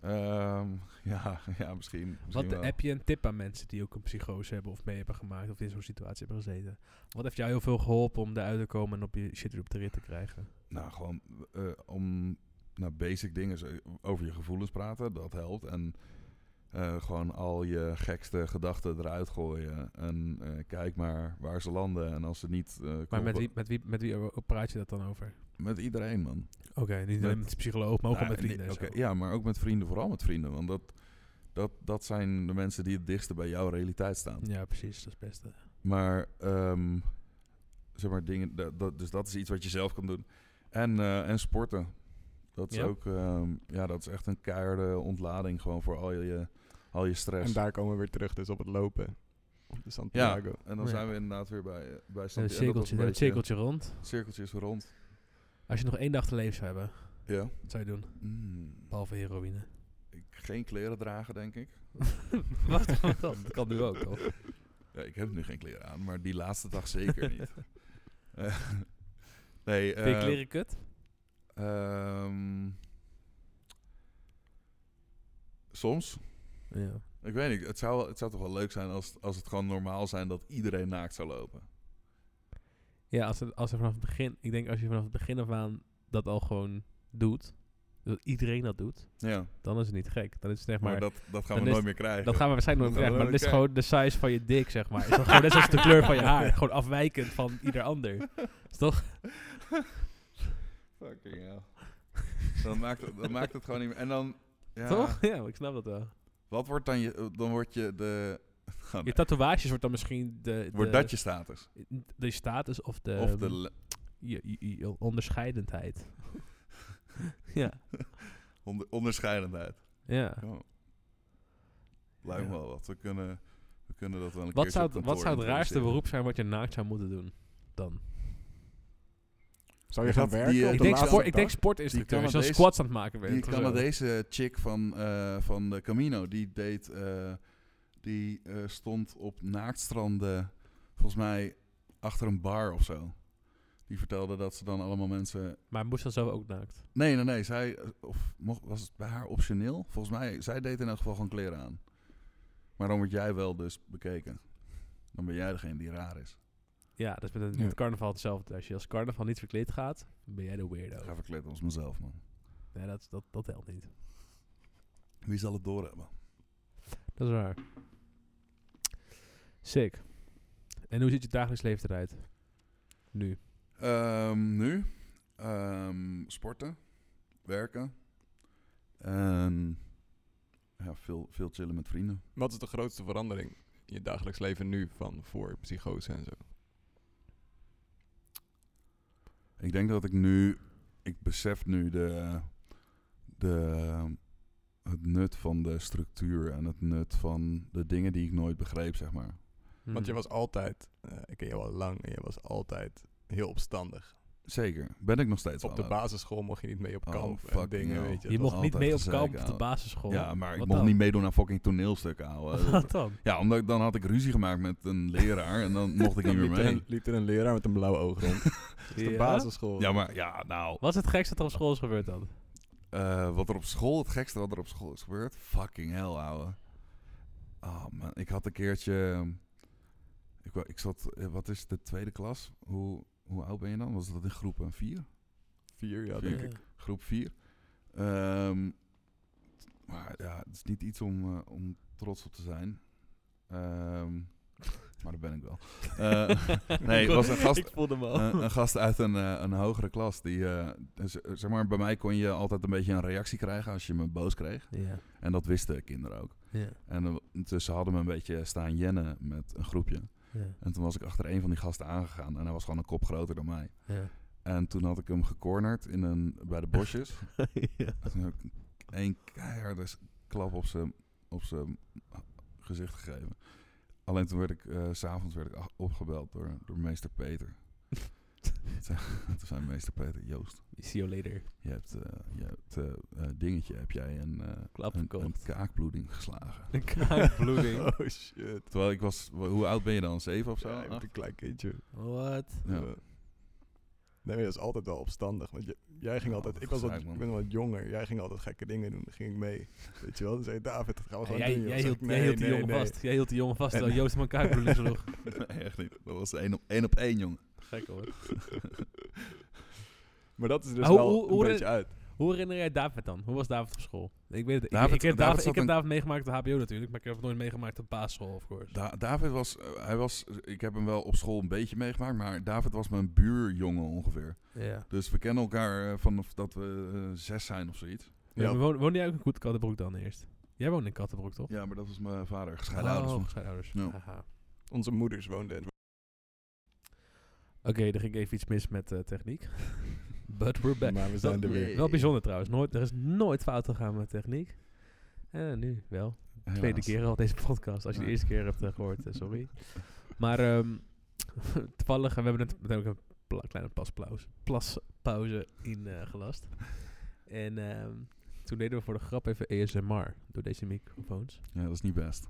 Ehm, (laughs) ja, ja, misschien. misschien
Wat
wel.
heb je een tip aan mensen die ook een psychose hebben of mee hebben gemaakt of in zo'n situatie hebben gezeten? Wat heeft jou heel veel geholpen om eruit te komen en op je shit weer op de rit te krijgen?
Nou, gewoon eh, om nou, basic dingen zo- over je gevoelens praten, dat helpt. En eh, gewoon al je gekste gedachten eruit gooien. En eh, kijk maar waar ze landen. En als ze niet. eh,
Maar met
kloppen-
wie, met wie, met wie o- praat je dat dan over?
Met iedereen, man.
Oké, niet alleen
Met-
met de psycholoog, maar ook wel
Nou,
met
nee,
vrienden. en zo.
oké, ja, maar ook met vrienden, vooral met vrienden. Want dat, dat, dat zijn de mensen die het dichtste bij jouw realiteit staan.
ja, precies, dat is het beste.
Maar, ehm, zeg maar, dingen. Dat, dat- dus dat is iets wat je zelf kan doen. En, eh, en sporten. Dat is
Ja.
ook, ehm, ja, dat is echt een keiharde ontlading gewoon voor al je, al je stress.
En daar komen we weer terug, dus op het lopen. Op de
ja,
Santiago.
en dan
Ja.
zijn we inderdaad weer bij, eh, bij
Een
Santiago. Dat was
cirkeltje,
een
een
beetje-
cirkeltje rond.
Cirkeltjes rond.
Als je nog één dag te leven zou hebben,
Ja.
wat zou je doen?
Mm.
Behalve heroïne.
(laughs) Ik- Geen kleren dragen, denk ik. (laughs)
Wacht, wacht, wacht, dat kan nu ook, toch?
Ja, ik heb nu geen kleren aan, maar die laatste dag zeker
(laughs)
niet. Eh, nee,
Vind je
eh,
kleren kut?
ehm, soms.
Ja.
Ik weet niet, het zou, het zou toch wel leuk zijn als, als het gewoon normaal zijn dat iedereen naakt zou lopen.
Ja, als, het, als er vanaf het begin... Ik denk als je vanaf het begin af aan dat al gewoon doet... Dat iedereen dat doet,
Ja,
dan is het niet gek. Dan is het zeg
maar,
maar...
dat, dat gaan
dan
we
is-
nooit meer krijgen.
dat gaan we waarschijnlijk nooit
Dat
krijgen, maar
gaan
dat
we
is gewoon de size van je dik, zeg maar. Is dat gewoon net zoals de kleur van je
(laughs)
haar. Gewoon afwijkend van ieder ander. Is toch?
Fucking hell. (laughs) Dan maakt, het, dan maakt het gewoon niet meer. En dan... Ja,
Toch? Ja, ik snap dat wel.
Wat wordt dan je... Dan word je de... Oh, nee.
Je tatoeages wordt dan misschien de... de
Wordt dat je status?
De status of eh, de...
of de... le-
je, je- je onderscheidendheid. ja,
onder- onderscheidendheid.
ja.
Ja. Lijkt me
Ja.
wel wat. We kunnen, we kunnen dat wel een
Wat
keertje
zou,
op
het- wat
kantoor
zou het raarste
introduceren.
beroep zijn wat je naakt zou moeten doen? Dan.
Zou je
Is
gaan
dat die,
werken?
eh,
op
Ik
de
denk,
laatste
sport, ik
dag?
denk sportinstructeur.
die
Als je dan
Canadees-
squats aan het maken bent.
Die
of zo.
Canadese chick van, eh, van de Camino, die deed... eh, die eh, stond op naaktstranden, volgens mij achter een bar of zo. Die vertelde dat ze dan allemaal mensen...
Maar moest dan zo ook naakt?
Nee, nee, nee. Zij, eh, of mocht, was het bij haar optioneel? Volgens mij, zij deed in elk geval gewoon kleren aan. Maar dan word jij wel dus bekeken. Dan ben jij degene die raar is.
Ja, dat is met, een-
Ja.
met carnaval hetzelfde. Als je als carnaval niet verkleed gaat, ben jij de
Ik
weirdo.
ga verkleden als mezelf, man.
Nee, dat, dat, dat helpt niet.
Wie zal het doorhebben?
Dat is waar. Sick. En hoe ziet je dagelijks leven eruit? Nu.
Ehm, nu? Ehm, sporten. Werken. En ja, veel, veel chillen met vrienden.
Wat is de grootste verandering in je dagelijks leven nu van voor psychose en zo?
Ik denk dat ik nu... Ik besef nu de, de, het nut van de structuur en het nut van de dingen die ik nooit begreep, zeg maar.
Hmm.
Want je was altijd, eh, ik ken je al lang, en je was altijd heel opstandig.
Zeker. Ben ik nog steeds
Op
wel
de
ook.
basisschool mocht je niet mee op
Oh,
kamp en
fucking
dingen,
hell.
weet je.
Je
dat
mocht
was
niet
altijd
mee op
gezeik,
kamp op de
ouwe.
basisschool.
Ja, maar ik
Wat
mocht
dan?
niet meedoen aan fucking toneelstukken, ouwe.
(laughs) Wat dan?
Ja, omdat ik, dan had ik ruzie gemaakt met een leraar en dan mocht ik niet
(laughs) Dan
meer
liep, er
mee.
een, liep er een leraar met een blauwe
(laughs)
oog rond. Dat is de
Ja?
basisschool.
Ja, maar ja, nou.
Wat is het gekste dat er op school is gebeurd dan?
Eh, wat er op school, het gekste wat er op school is gebeurd. Ah, Fucking hell, ouwe. Oh man, ik had een keertje. ehm, Ik, wa- ik zat, eh, wat is de tweede klas? Hoe, hoe oud ben je dan? Was dat in groep 4?
Vier, ja,
Vier.
denk ik.
groep 4. Ehm, t- maar ja, het is niet iets om, eh, om trots op te zijn. Ehm, maar dat ben ik
(laughs)
wel. Eh, nee, het was een gast,
Ik voelde me al.
een, een gast uit een, eh, een hogere klas. Die, eh, z- zeg maar, bij mij kon je altijd een beetje een reactie krijgen als je me boos kreeg.
ja.
En dat wisten de kinderen ook.
Ja.
En eh, intussen hadden we een beetje staan jennen met een groepje.
Ja.
En toen was ik achter een van die gasten aangegaan. En hij was gewoon een kop groter dan mij.
Ja.
En toen had ik hem gecornerd in een, bij de bosjes.
ja.
En toen heb ik één keiharde s- klap op zijn, op zijn gezicht gegeven. Alleen toen werd ik, eh, s s'avonds werd ik a- opgebeld door, door meester
(laughs)
Peter. toen zei- toen zei meester Peter, Joost,
See you later.
je hebt, eh, je hebt eh, eh, dingetje, heb jij een, eh,
Klap
een, een
verkocht.
kaakbloeding geslagen.
Een kaakbloeding.
(laughs) Oh shit.
Terwijl ik was, wa- hoe oud ben je dan? Zeven of zo?
Ja, ik ben
Acht?
een klein kindje.
Wat?
Ja.
Eh, Nee, maar dat is altijd wel opstandig. Want j- jij ging
Ja,
altijd,
dat
ik, was wat,
gezeik, man.
ik ben wat jonger, jij ging altijd gekke dingen doen. Dan ging ik mee. Weet je wel? Dan zei je, David, dat gaan we
Ja,
gewoon
jij,
doen. joh."
jij
Dan
hield,
zeg ik,
jij hield die
"Nee,
jongen
nee, nee."
vast. Jij hield die jongen vast terwijl Joost hem een kaakbloeding
(laughs)
sloeg.
(laughs) Nee, echt niet. Dat was één op één, op één jongen.
Gek hoor.
Maar dat is dus
Ah, hoe-
wel
hoe- hoe-
een beetje uit.
Hoe herinner jij David dan? Hoe was David op school? Ik weet het. ik-
David-
ik, heb
David
David,
zat
ik heb
een-
David meegemaakt op de HBO natuurlijk, maar ik heb hem nooit meegemaakt op basisschool, of course.
Da- David was, eh, hij was, ik heb hem wel op school een beetje meegemaakt, maar David was mijn buurjongen ongeveer.
ja.
Dus we kennen elkaar eh, vanaf dat we eh, zes zijn of zoiets.
ja.
Ja.
maar woon- Woonde jij ook in Goed- Kattenbroek dan eerst? Jij woonde in Kattenbroek, toch?
Ja, maar dat was mijn vader, gescheiden
Oh,
ouders. van-
gescheiden ouders.
Ja.
Haha.
Onze moeders woonden in
Oké, er ging even iets mis met eh,
(laughs)
techniek. But we're back.
Maar we zijn er weer.
Wel bijzonder trouwens. Nooit, er is nooit fout gegaan met techniek. En nu wel.
Helaas.
Tweede keer al deze podcast. Als je de
Ja.
eerste keer hebt eh, gehoord, eh, sorry. Maar ehm, (laughs) toevallig, eh, we hebben net meteen ook een pla- kleine pasplauze, plaspauze in eh, gelast. En ehm, toen deden we voor de grap even ASMR door deze microfoons.
Ja, dat is niet best.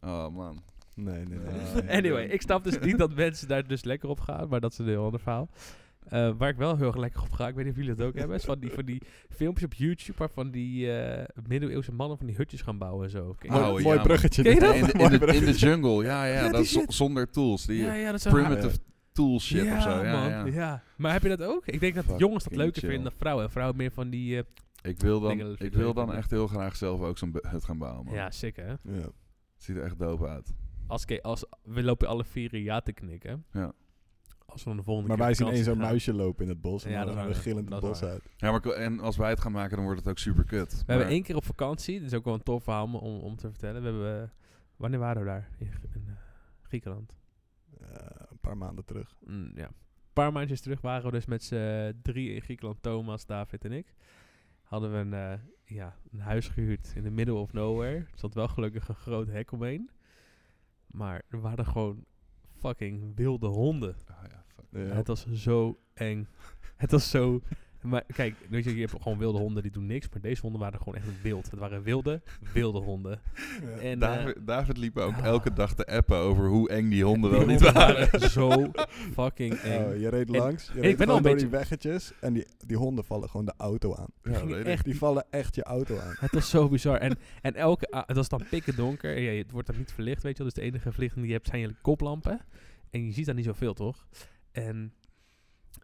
Oh man.
Nee, nee, nee.
Ja,
nee.
anyway, ik snap dus
(laughs)
niet dat mensen daar dus lekker op gaan, maar dat is een heel ander verhaal. Eh, waar ik wel heel erg lekker op ga, ik weet niet of jullie het ook hebben, is van die, van die filmpjes op YouTube waarvan die eh, middeleeuwse mannen van die hutjes gaan bouwen en zo. Ken je
Oh,
Mooi,
dat?
ja,
mooi
man.
bruggetje.
Ken je
dit.
dat?
In, de- in
Mooi
(laughs)
de, in de
bruggetje.
jungle, ja, ja,
Ja,
dat
die
is zo-
shit.
zonder tools. Die
ja, ja, dat zijn
primitive tool shit of zo. Ja,
man.
ja.
Maar heb je dat ook? Ik denk dat
Fucking
jongens dat leuker
chill.
vinden dan vrouwen. En vrouwen meer van die... eh,
Ik wil
Ik denk
dan,
dat het
ik wil
leuk
dan
is.
echt heel graag zelf ook zo'n be- hut gaan bouwen. Man.
ja, sick hè?
Ja.
Ziet er echt dope uit.
Als, ke- als, we lopen alle vier ja te knikken.
Ja.
Als we dan de volgende
Maar
keer
wij
op
zien één
vakantie
zo'n
gaan.
muisje lopen in het bos. En
Ja,
dan
dat is
gaan we
waar.
gillend het
Dat is
bos
waar.
uit.
Ja, maar ik wil- en als wij het gaan maken, dan wordt het ook super kut.
We hebben één keer op vakantie. Dat is ook wel een tof verhaal om, om te vertellen. We hebben... eh, wanneer waren we daar? In, Gr- in, eh, Griekenland.
Eh, een paar maanden terug.
Mm, ja. Een paar maandjes terug waren we dus met z'n drie in Griekenland, Thomas, David en ik. Hadden we een, eh, ja, een huis gehuurd in de middle of nowhere. Er zat wel gelukkig een groot hek omheen. Maar er waren gewoon fucking wilde honden.
Ah, ja, fuck.
Ja.
Het was zo eng. (laughs) Het was zo... Maar kijk, weet je, je hebt gewoon wilde honden die doen niks. Maar deze honden waren gewoon echt wild. Het waren wilde, wilde
(laughs)
honden.
Ja.
En, eh,
David, David liep ook
ah.
elke dag te appen over hoe eng die honden wel
die
niet
honden
waren.
waren
(laughs)
zo fucking eng.
Oh, je reed
En-
langs, je reed
ben al
gewoon
een
door
beetje-
die weggetjes en die, die honden vallen gewoon de auto aan.
Ja,
Ging
weet ik.
echt
(laughs) Die vallen echt je auto aan.
Het was zo bizar. En, en elke, a- het was dan pikken donker. Ja, het wordt dan niet verlicht, weet je wel. Dus de enige verlichting die je hebt zijn je koplampen. En je ziet daar niet zoveel, toch? En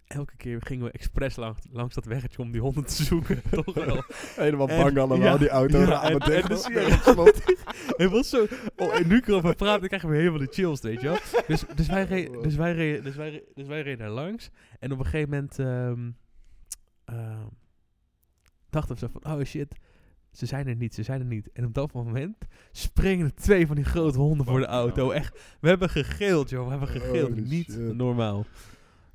elke keer gingen we expres lang, langs dat weggetje om die honden te zoeken. (laughs) toch wel.
Helemaal
En-
bang allemaal,
ja,
die auto
ja,
ramen
en- en
dicht,
dus-
hoor.
ja.
Op slot.
Het was zo... Oh, en nu ik erover praat, dan krijgen we helemaal de chills, weet je wel. Dus, dus, wij, re- dus, wij, re- dus, wij, re- dus wij reden daar langs. En op een gegeven moment ehm, ehm, dachten we zo van, oh shit, ze zijn er niet, ze zijn er niet. En op dat moment springen er twee van die grote honden voor de auto. Echt, we hebben gegeeld, joh. We hebben gegeeld.
Holy
niet
shit.
normaal.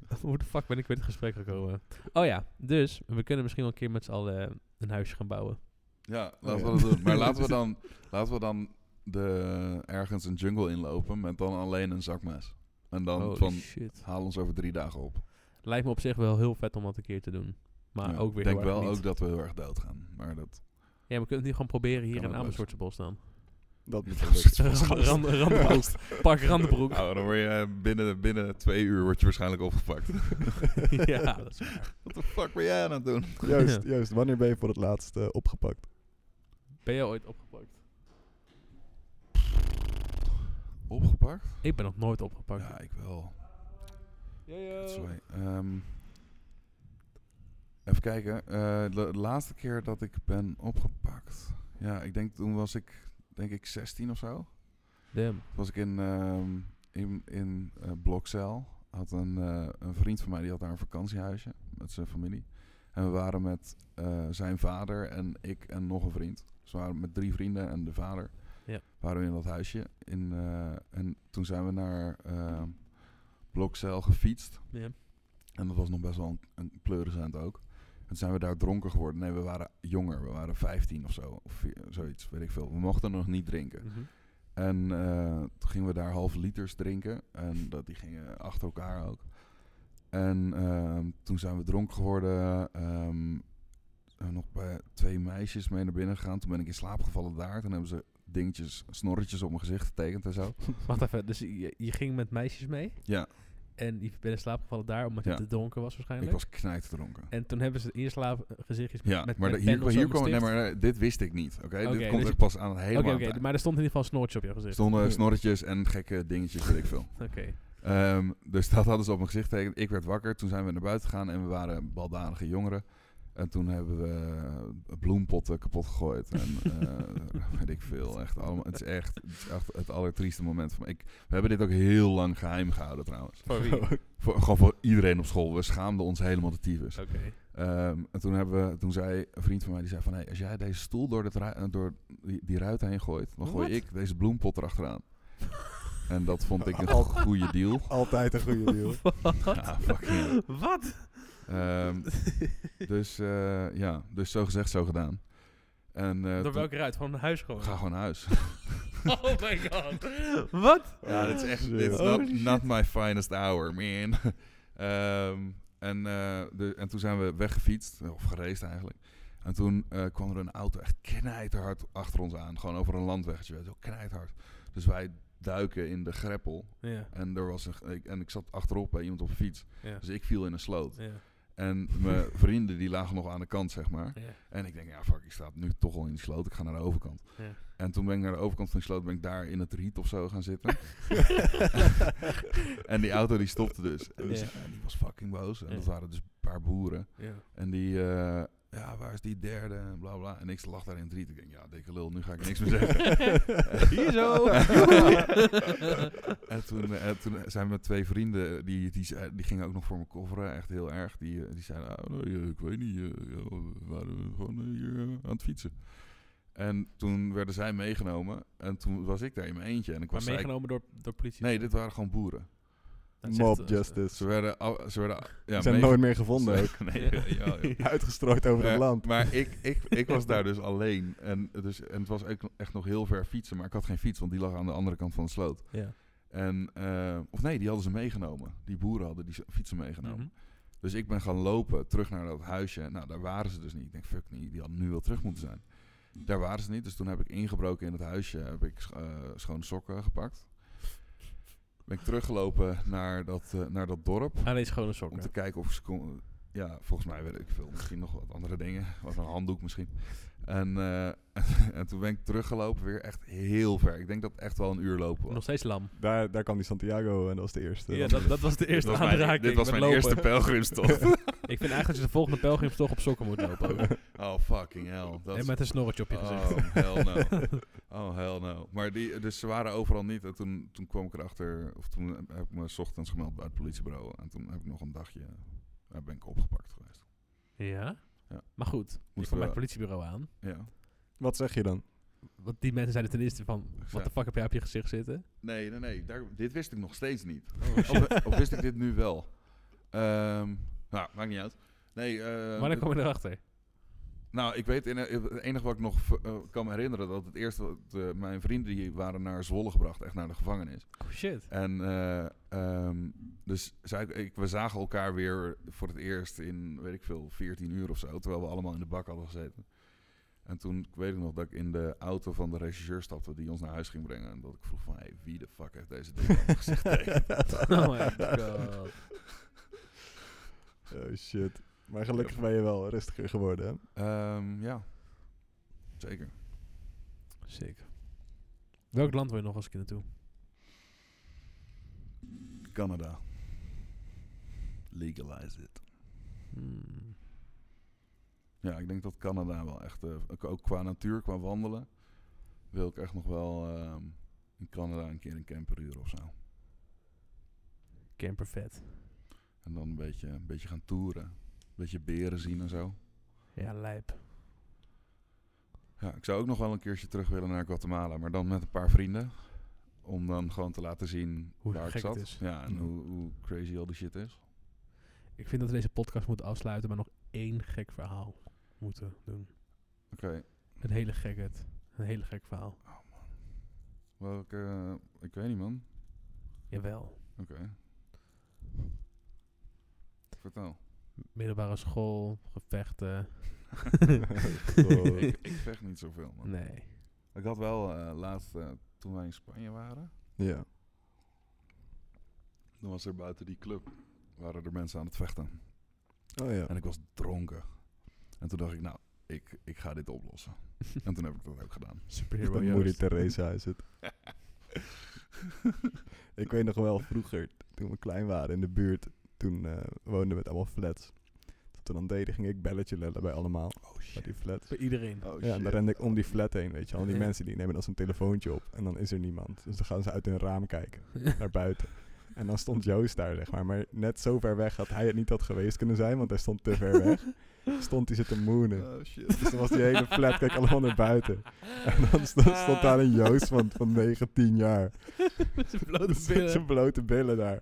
(laughs) Hoe de fuck ben ik weer in het gesprek gekomen? Oh ja, dus we kunnen misschien wel een keer met z'n allen eh, een huisje gaan bouwen.
Ja,
Oh,
laten
ja.
we dat doen. Maar laten we dan, laten we dan de, ergens een jungle inlopen met dan alleen een zakmes. En dan
Holy
van
shit.
haal ons over drie dagen op.
Lijkt me op zich wel heel vet om dat een keer te doen. Maar
Ja,
ook weer
Ik denk
heel erg
wel
niet.
ook dat we heel erg dood gaan. Maar dat
Ja, we kunnen het nu gewoon proberen hier
Kan
in
ook leuk.
Amersfoortse bos
(laughs)
dan.
Dat moet
(laughs) Rand- Rand- Randenbroek. Park Randenbroek.
nou, dan word je eh, binnen, binnen twee uur word je waarschijnlijk opgepakt. (laughs)
(laughs) ja, dat is waar.
Wat de fuck ben jij aan het doen?
Juist, juist. Wanneer ben je voor het laatst eh, opgepakt?
Ben jij ooit opgepakt?
Opgepakt?
Ik ben nog nooit opgepakt.
Ja, ik wel.
Yo, yo.
Sorry. Ehm, even kijken. Eh, de laatste keer dat ik ben opgepakt. Ja, ik denk toen was ik, denk ik 16 of zo.
Damn.
Toen was ik in, ehm, in, in eh, Blokzeil. Had een, eh, een vriend van mij die had daar een vakantiehuisje met zijn familie. En we waren met eh, zijn vader en ik en nog een vriend. Dus we waren met drie vrienden en de vader.
Ja.
Waren we in dat huisje. In, eh, en toen zijn we naar eh, Blokzeil gefietst.
Damn.
En dat was nog best wel een, een pleurisend ook. En toen zijn we daar dronken geworden. Nee, we waren jonger. We waren 15 of zo. Of vi- zoiets, weet ik veel. We mochten nog niet drinken.
Mhm.
En eh, toen gingen we daar half liters drinken. En dat, die gingen achter elkaar ook. En ehm, toen zijn we dronken geworden. ehm, zijn we nog bij twee meisjes mee naar binnen gegaan. Toen ben ik in slaap gevallen daar. Toen hebben ze dingetjes, snorretjes op mijn gezicht getekend en zo.
Wacht even, dus je, je ging met meisjes mee?
Ja.
En je bent in slaap gevallen daar omdat
Ja.
het te donker was
Ik
waarschijnlijk?
was knijtdronken.
En toen hebben ze in je slaap eh, gezichtjes
Ja,
met
maar
met
de- hier,
pen of zo
hier kwam, nee,
bestift?
maar eh, dit wist ik niet. Oké,
Oké,
dit komt
dus-
er pas aan het
Oké,
helemaal
oké,
aan het eind.
maar er stond in ieder geval een snoortje op je gezicht.
stonden snorretjes en gekke dingetjes, weet ik veel.
Oké.
Ehm, dus dat hadden ze op mijn gezicht getekend. Ik werd wakker, toen zijn we naar buiten gegaan en we waren baldadige jongeren. En toen hebben we eh, bloempotten kapot gegooid. En eh, weet ik veel. Echt allemaal, het is echt het, is echt het allertrieste moment van me. Ik, we hebben dit ook heel lang geheim gehouden trouwens.
Voor wie?
(laughs)
Oké.
Voor, gewoon voor iedereen op school. We schaamden ons helemaal de tyfus. Ehm, en toen, hebben we, toen zei een vriend van mij, die zei van... Hey, als jij deze stoel door, dat ru- eh, door die, die ruit heen gooit, dan gooi
Wat?
ik deze bloempot erachteraan. en dat vond ik een goede deal.
Altijd een goede
(laughs)
deal.
Ja, fucking
(laughs)
hell.
(laughs) Wat?
Ehm, dus eh, ja, dus zo gezegd, zo gedaan. En, eh,
Door
toen-
welke ruit? Gewoon een huis gewoon.
Ga gewoon naar
(laughs)
huis.
Oh my god. Wat?
ja, dat is echt...
Shit.
It's
Oh, Holy
not, not my finest hour, man. (laughs) Ehm, en, eh, de, en toen zijn we weggefietst, of geraced eigenlijk. En toen eh, kwam er een auto echt knijterhard achter ons aan. Gewoon over een landweggetje, weet je wel, knijterhard. Dus wij duiken in de greppel.
Ja,
En, er was een, g- ik, en ik zat achterop bij iemand op een fiets.
ja,
Dus ik viel in een sloot.
ja.
En mijn (laughs) vrienden die lagen nog aan de kant, zeg maar.
ja.
En ik denk, ja fuck, ik sta nu toch al in die sloot. Ik ga naar de overkant.
Ja.
En toen ben ik naar de overkant van die sloot, ben ik daar in het riet of zo gaan
(laughs)
zitten. en die auto die stopte dus. En die,
Ja.
en die was fucking boos. En
Ja.
dat waren dus een paar boeren.
ja.
En die, eh, ja waar is die derde? En bla bla. En ik lag daar in het riet. Ik denk, ja dikke lul, nu ga ik niks meer zeggen.
(laughs)
Hier zo.
(laughs) en, toen, eh, en toen zijn mijn twee vrienden, eh, die, die, ze- die gingen ook nog voor me kofferen, echt heel erg. Die, eh, die zeiden, "Ah, nee, eh, ik weet niet, eh, ja, we waren gewoon eh, hier eh, aan het fietsen. En toen werden zij meegenomen en toen was ik daar in mijn eentje. En ik
Maar
was zij,
meegenomen door, door politie.
nee, dit waren gewoon boeren.
Dat zegt,
Mob
eh,
Ze
justice.
werden, af- ze werden ja,
Ze zijn
meege-
nooit meer gevonden. (laughs) ook.
Ze- (laughs) nee, ja, ja, ja.
Uitgestrooid over het
Eh,
land.
Maar ik, ik, ik was daar dus alleen. En, dus, en het was ook echt nog heel ver fietsen, maar ik had geen fiets, want die lag aan de andere kant van de sloot.
Ja.
En, eh, of nee, die hadden ze meegenomen. Die boeren hadden die s- fietsen meegenomen.
Mhm.
Dus ik ben gaan lopen terug naar dat huisje. Nou, daar waren ze dus niet. Ik denk, fuck niet, die hadden nu wel terug moeten zijn. Daar waren ze niet, dus toen heb ik ingebroken in het huisje. Heb ik sch- eh, schone sokken gepakt. Ben ik teruggelopen naar dat, eh, naar dat dorp.
Alleen schone
Om te
sokken.
kijken of ze kon... Ja, volgens mij weet ik veel. Misschien nog wat andere dingen. Wat een handdoek misschien. En, eh, (laughs) en toen ben ik teruggelopen weer echt heel ver. Ik denk dat het echt wel een uur lopen was.
Nog steeds lam.
Daar, daar kwam die Santiago en dat was de eerste.
Ja, dat, dat was de
(laughs)
eerste
dit was mijn,
aanraking.
Dit was
met
mijn
lopen.
eerste
(laughs)
pelgrimstocht.
Ik vind eigenlijk dat je de volgende pelgrimstocht op sokken moet
(laughs)
lopen. ook.
oh, fucking hell. Dat
en
is-
met een snorretje op je gezicht.
Oh, hell no. Oh, hell no. Maar die, dus ze waren overal niet. En toen, toen kwam ik erachter, of toen heb ik me 's ochtends gemeld bij het politiebureau. En toen heb ik nog een dagje, daar ben ik opgepakt geweest.
(laughs) Ja?
Ja.
Maar goed, ik
Moesten
kwam bij het
we-
politiebureau aan.
Ja.
Wat zeg je dan?
Want die mensen zeiden ten eerste van, wat de fuck heb jij op je gezicht zitten?
Nee, nee, nee. Daar, dit wist ik nog steeds niet.
(laughs)
of, of wist ik dit nu wel? Ehm, nou, maakt niet uit. Nee, eh,
Wanneer
het-
kwam je erachter?
Nou, ik weet, in, eh, het enige wat ik nog eh, kan me herinneren, dat het eerst wat, eh, mijn vrienden die waren naar Zwolle gebracht, echt naar de gevangenis.
Oh shit.
En eh, ehm, dus zij, ik, we zagen elkaar weer voor het eerst in, weet ik veel, 14 uur of zo, terwijl we allemaal in de bak hadden gezeten. En toen, ik weet ik nog, dat ik in de auto van de regisseur stapte die ons naar huis ging brengen. En dat ik vroeg van, hey, wie de fuck heeft deze ding allemaal gezegd
(laughs)
tegen? (laughs) Nou.
Oh my god.
Oh shit. Maar gelukkig ben je wel rustiger geworden.
(laughs)
Hè?
Ehm, ja, zeker.
Sick. Welk land wil je nog als ik naartoe?
Canada. Legalize it.
Hmm.
Ja, ik denk dat Canada wel echt, eh, ook- ook qua natuur, qua wandelen, wil ik echt nog wel ehm, in Canada een keer een camper huren of zo.
Camper vet.
En dan een beetje, een beetje gaan toeren. Een beetje beren zien en zo.
Ja, lijp.
Ja, ik zou ook nog wel een keertje terug willen naar Guatemala, maar dan met een paar vrienden. Om dan gewoon te laten zien
Hoe
waar ik
gek het
zat.
is. Mhm.
Ja, en
Ja.
hoe, hoe crazy al die shit is.
Ik vind dat we deze podcast moeten afsluiten, maar nog één gek verhaal moeten doen.
Oké,
Een hele gek het. Een hele gek verhaal.
welke... eh, ik weet niet, man.
Jawel.
Oké. Vertel.
Middelbare school, gevechten.
ik, ik vecht niet zoveel, man.
Nee.
(laughs)
(laughs)
Ik had wel eh, laatst, eh, toen wij in Spanje waren,
Ja.
dan was er buiten die club, waren er mensen aan het vechten.
Oh ja.
En ik was dronken. En toen dacht ik, nou, ik, ik ga dit oplossen. en toen heb ik dat ook gedaan.
Dat
Superhero
Moeder
Joost.
Teresa is
(laughs)
het. (laughs) ik weet nog wel vroeger, toen we klein waren in de buurt, toen eh, woonden we met allemaal flats. Wat we dan deden, ging ik belletje lellen bij allemaal,
Oh
bij
shit.
die flats.
Voor iedereen.
Oh,
ja, en dan rende ik om die flat heen, weet je wel. En
(laughs)
die
Ja.
mensen die nemen dan zo'n telefoontje op en dan is er niemand. Dus dan gaan ze uit hun raam kijken, naar buiten. En dan stond Joost daar, zeg maar. Maar net zo ver weg dat hij het niet had geweest kunnen zijn, want hij stond te ver
(laughs)
weg. Stond hij zitten moenen.
Oh shit.
Dus dan was die hele flat, kijk, allemaal naar
(laughs)
buiten. En dan stond,
Ah.
stond daar een Joost van, van 9, 10 jaar.
Met zijn
(laughs)
blote
Met
billen.
zijn blote billen
(laughs)
daar.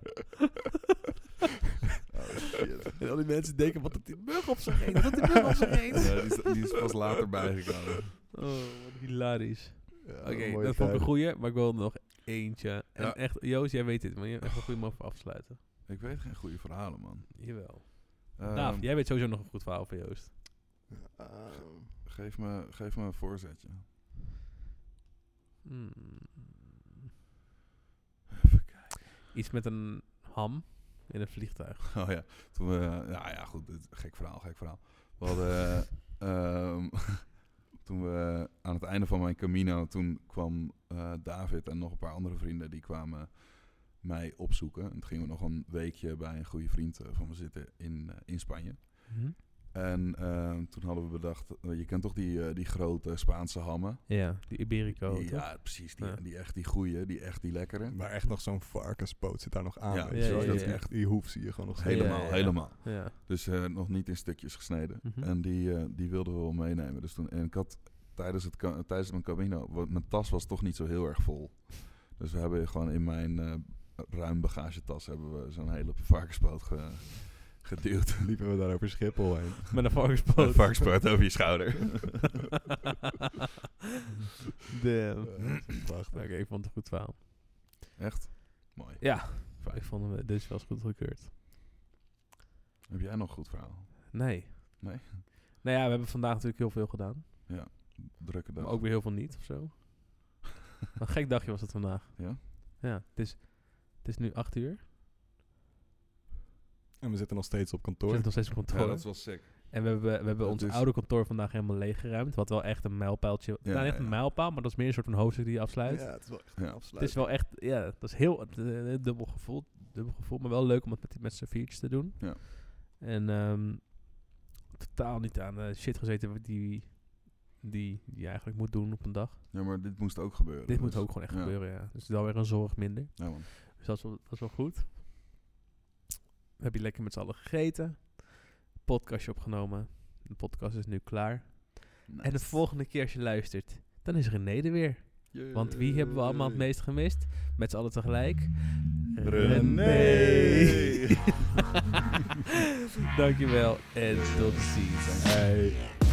Oh shit.
En al die mensen denken, wat dat die mug op zich heen, wat die mug op zich heen.
Ja, die, is, die is pas later bijgekomen.
Oh, wat hilarisch.
Ja,
Oké, dat
mooie
vond ik
tijden.
een goeie, maar ik wil nog eentje. En
Ja.
echt, Joost, jij weet dit, maar je hebt echt een goede man voor afsluiten.
Ik weet geen goede verhalen, man.
Jawel.
Ehm,
Daaf, jij weet sowieso nog een goed verhaal van Joost.
Ehm,
geef, me, geef me een voorzetje.
Hmm. Iets met een ham in een vliegtuig.
(laughs) Oh ja, toen we... Ja, ja, goed. dit- gek verhaal, gek verhaal. We hadden... ehm, (laughs) toen we aan het einde van mijn Camino... Toen kwam eh, David en nog een paar andere vrienden... Die kwamen mij opzoeken. En toen gingen we nog een weekje bij een goede vriend eh, van me zitten in, eh, in Spanje. En ehm, toen hadden we bedacht... eh, je kent toch die, eh, die grote Spaanse hammen?
Ja, die Iberico.
Die-
toch?
ja, precies. Die,
Ja.
die echt die goeie, die echt die lekkere.
maar echt nog zo'n varkenspoot zit daar nog aan.
Ja,
weet je wel.
ja, ja,
Dat
ja.
Die, echt- die hoef zie je gewoon nog steeds.
Helemaal,
Ja, ja.
helemaal.
ja.
Dus eh, nog niet in stukjes gesneden.
Mhm.
En die, eh, die wilden we wel meenemen. Dus toen, en ik had tijdens, het, ka- tijdens mijn camino, wa- mijn tas was toch niet zo heel erg vol. Dus we hebben gewoon in mijn eh, ruim bagagetas hebben we zo'n hele varkenspoot ge,
(laughs)
geduwd.
(laughs) Liepen we daar over Schiphol heen.
Met een
Een
varkenspoot.
varkenspoot over je schouder. (laughs)
Damn.
Ja, dat is
Oké,
prachtig.
ik vond het een goed verhaal.
Echt? Mooi.
Ja,
Fijn.
ik vond hem eh, dus wel eens goed gekeurd.
Heb jij nog een goed verhaal?
Nee.
Nee?
Nou ja, we hebben vandaag natuurlijk heel veel gedaan.
Drukke dag.
Maar ook weer heel veel niet of
(laughs)
zo. een gek dagje was het vandaag.
Ja?
Ja, het is, het is nu acht uur. We
En we zitten nog steeds op kantoor.
zitten nog steeds op
Ja,
kantoor.
dat is wel sick.
en we hebben, we hebben
dat
ons
is-
oude kantoor vandaag helemaal leeggeruimd. Wat wel echt een mijlpaaltje...
Ja,
nou, niet echt
ja.
een mijlpaal, maar dat is meer een soort van hoofdstuk die je afsluit.
Ja, het is wel echt
Ja.
een
Het is
afsluit.
wel echt... Ja, dat is heel... eh, eh, dubbel, gevoel, dubbel gevoel. Maar wel leuk om het met, die- met z'n viertjes te doen.
Ja.
En ehm, totaal niet aan eh, shit gezeten die, die je eigenlijk moet doen op een dag.
Ja, maar dit moest ook gebeuren.
Dit moet
dus-
ook gewoon echt
ja.
gebeuren, ja. Dus dan weer een zorg minder.
Ja, man.
Dus dat is wel, dat is wel goed. We hebben lekker met z'n allen gegeten. Podcastje opgenomen. De podcast is nu klaar. En de
Nice.
volgende keer als je luistert, dan is René er weer. Want wie hebben we allemaal het meest gemist? Met z'n allen tegelijk.
René.
(laughs)
(laughs)
Dankjewel en tot ziens.
Hey.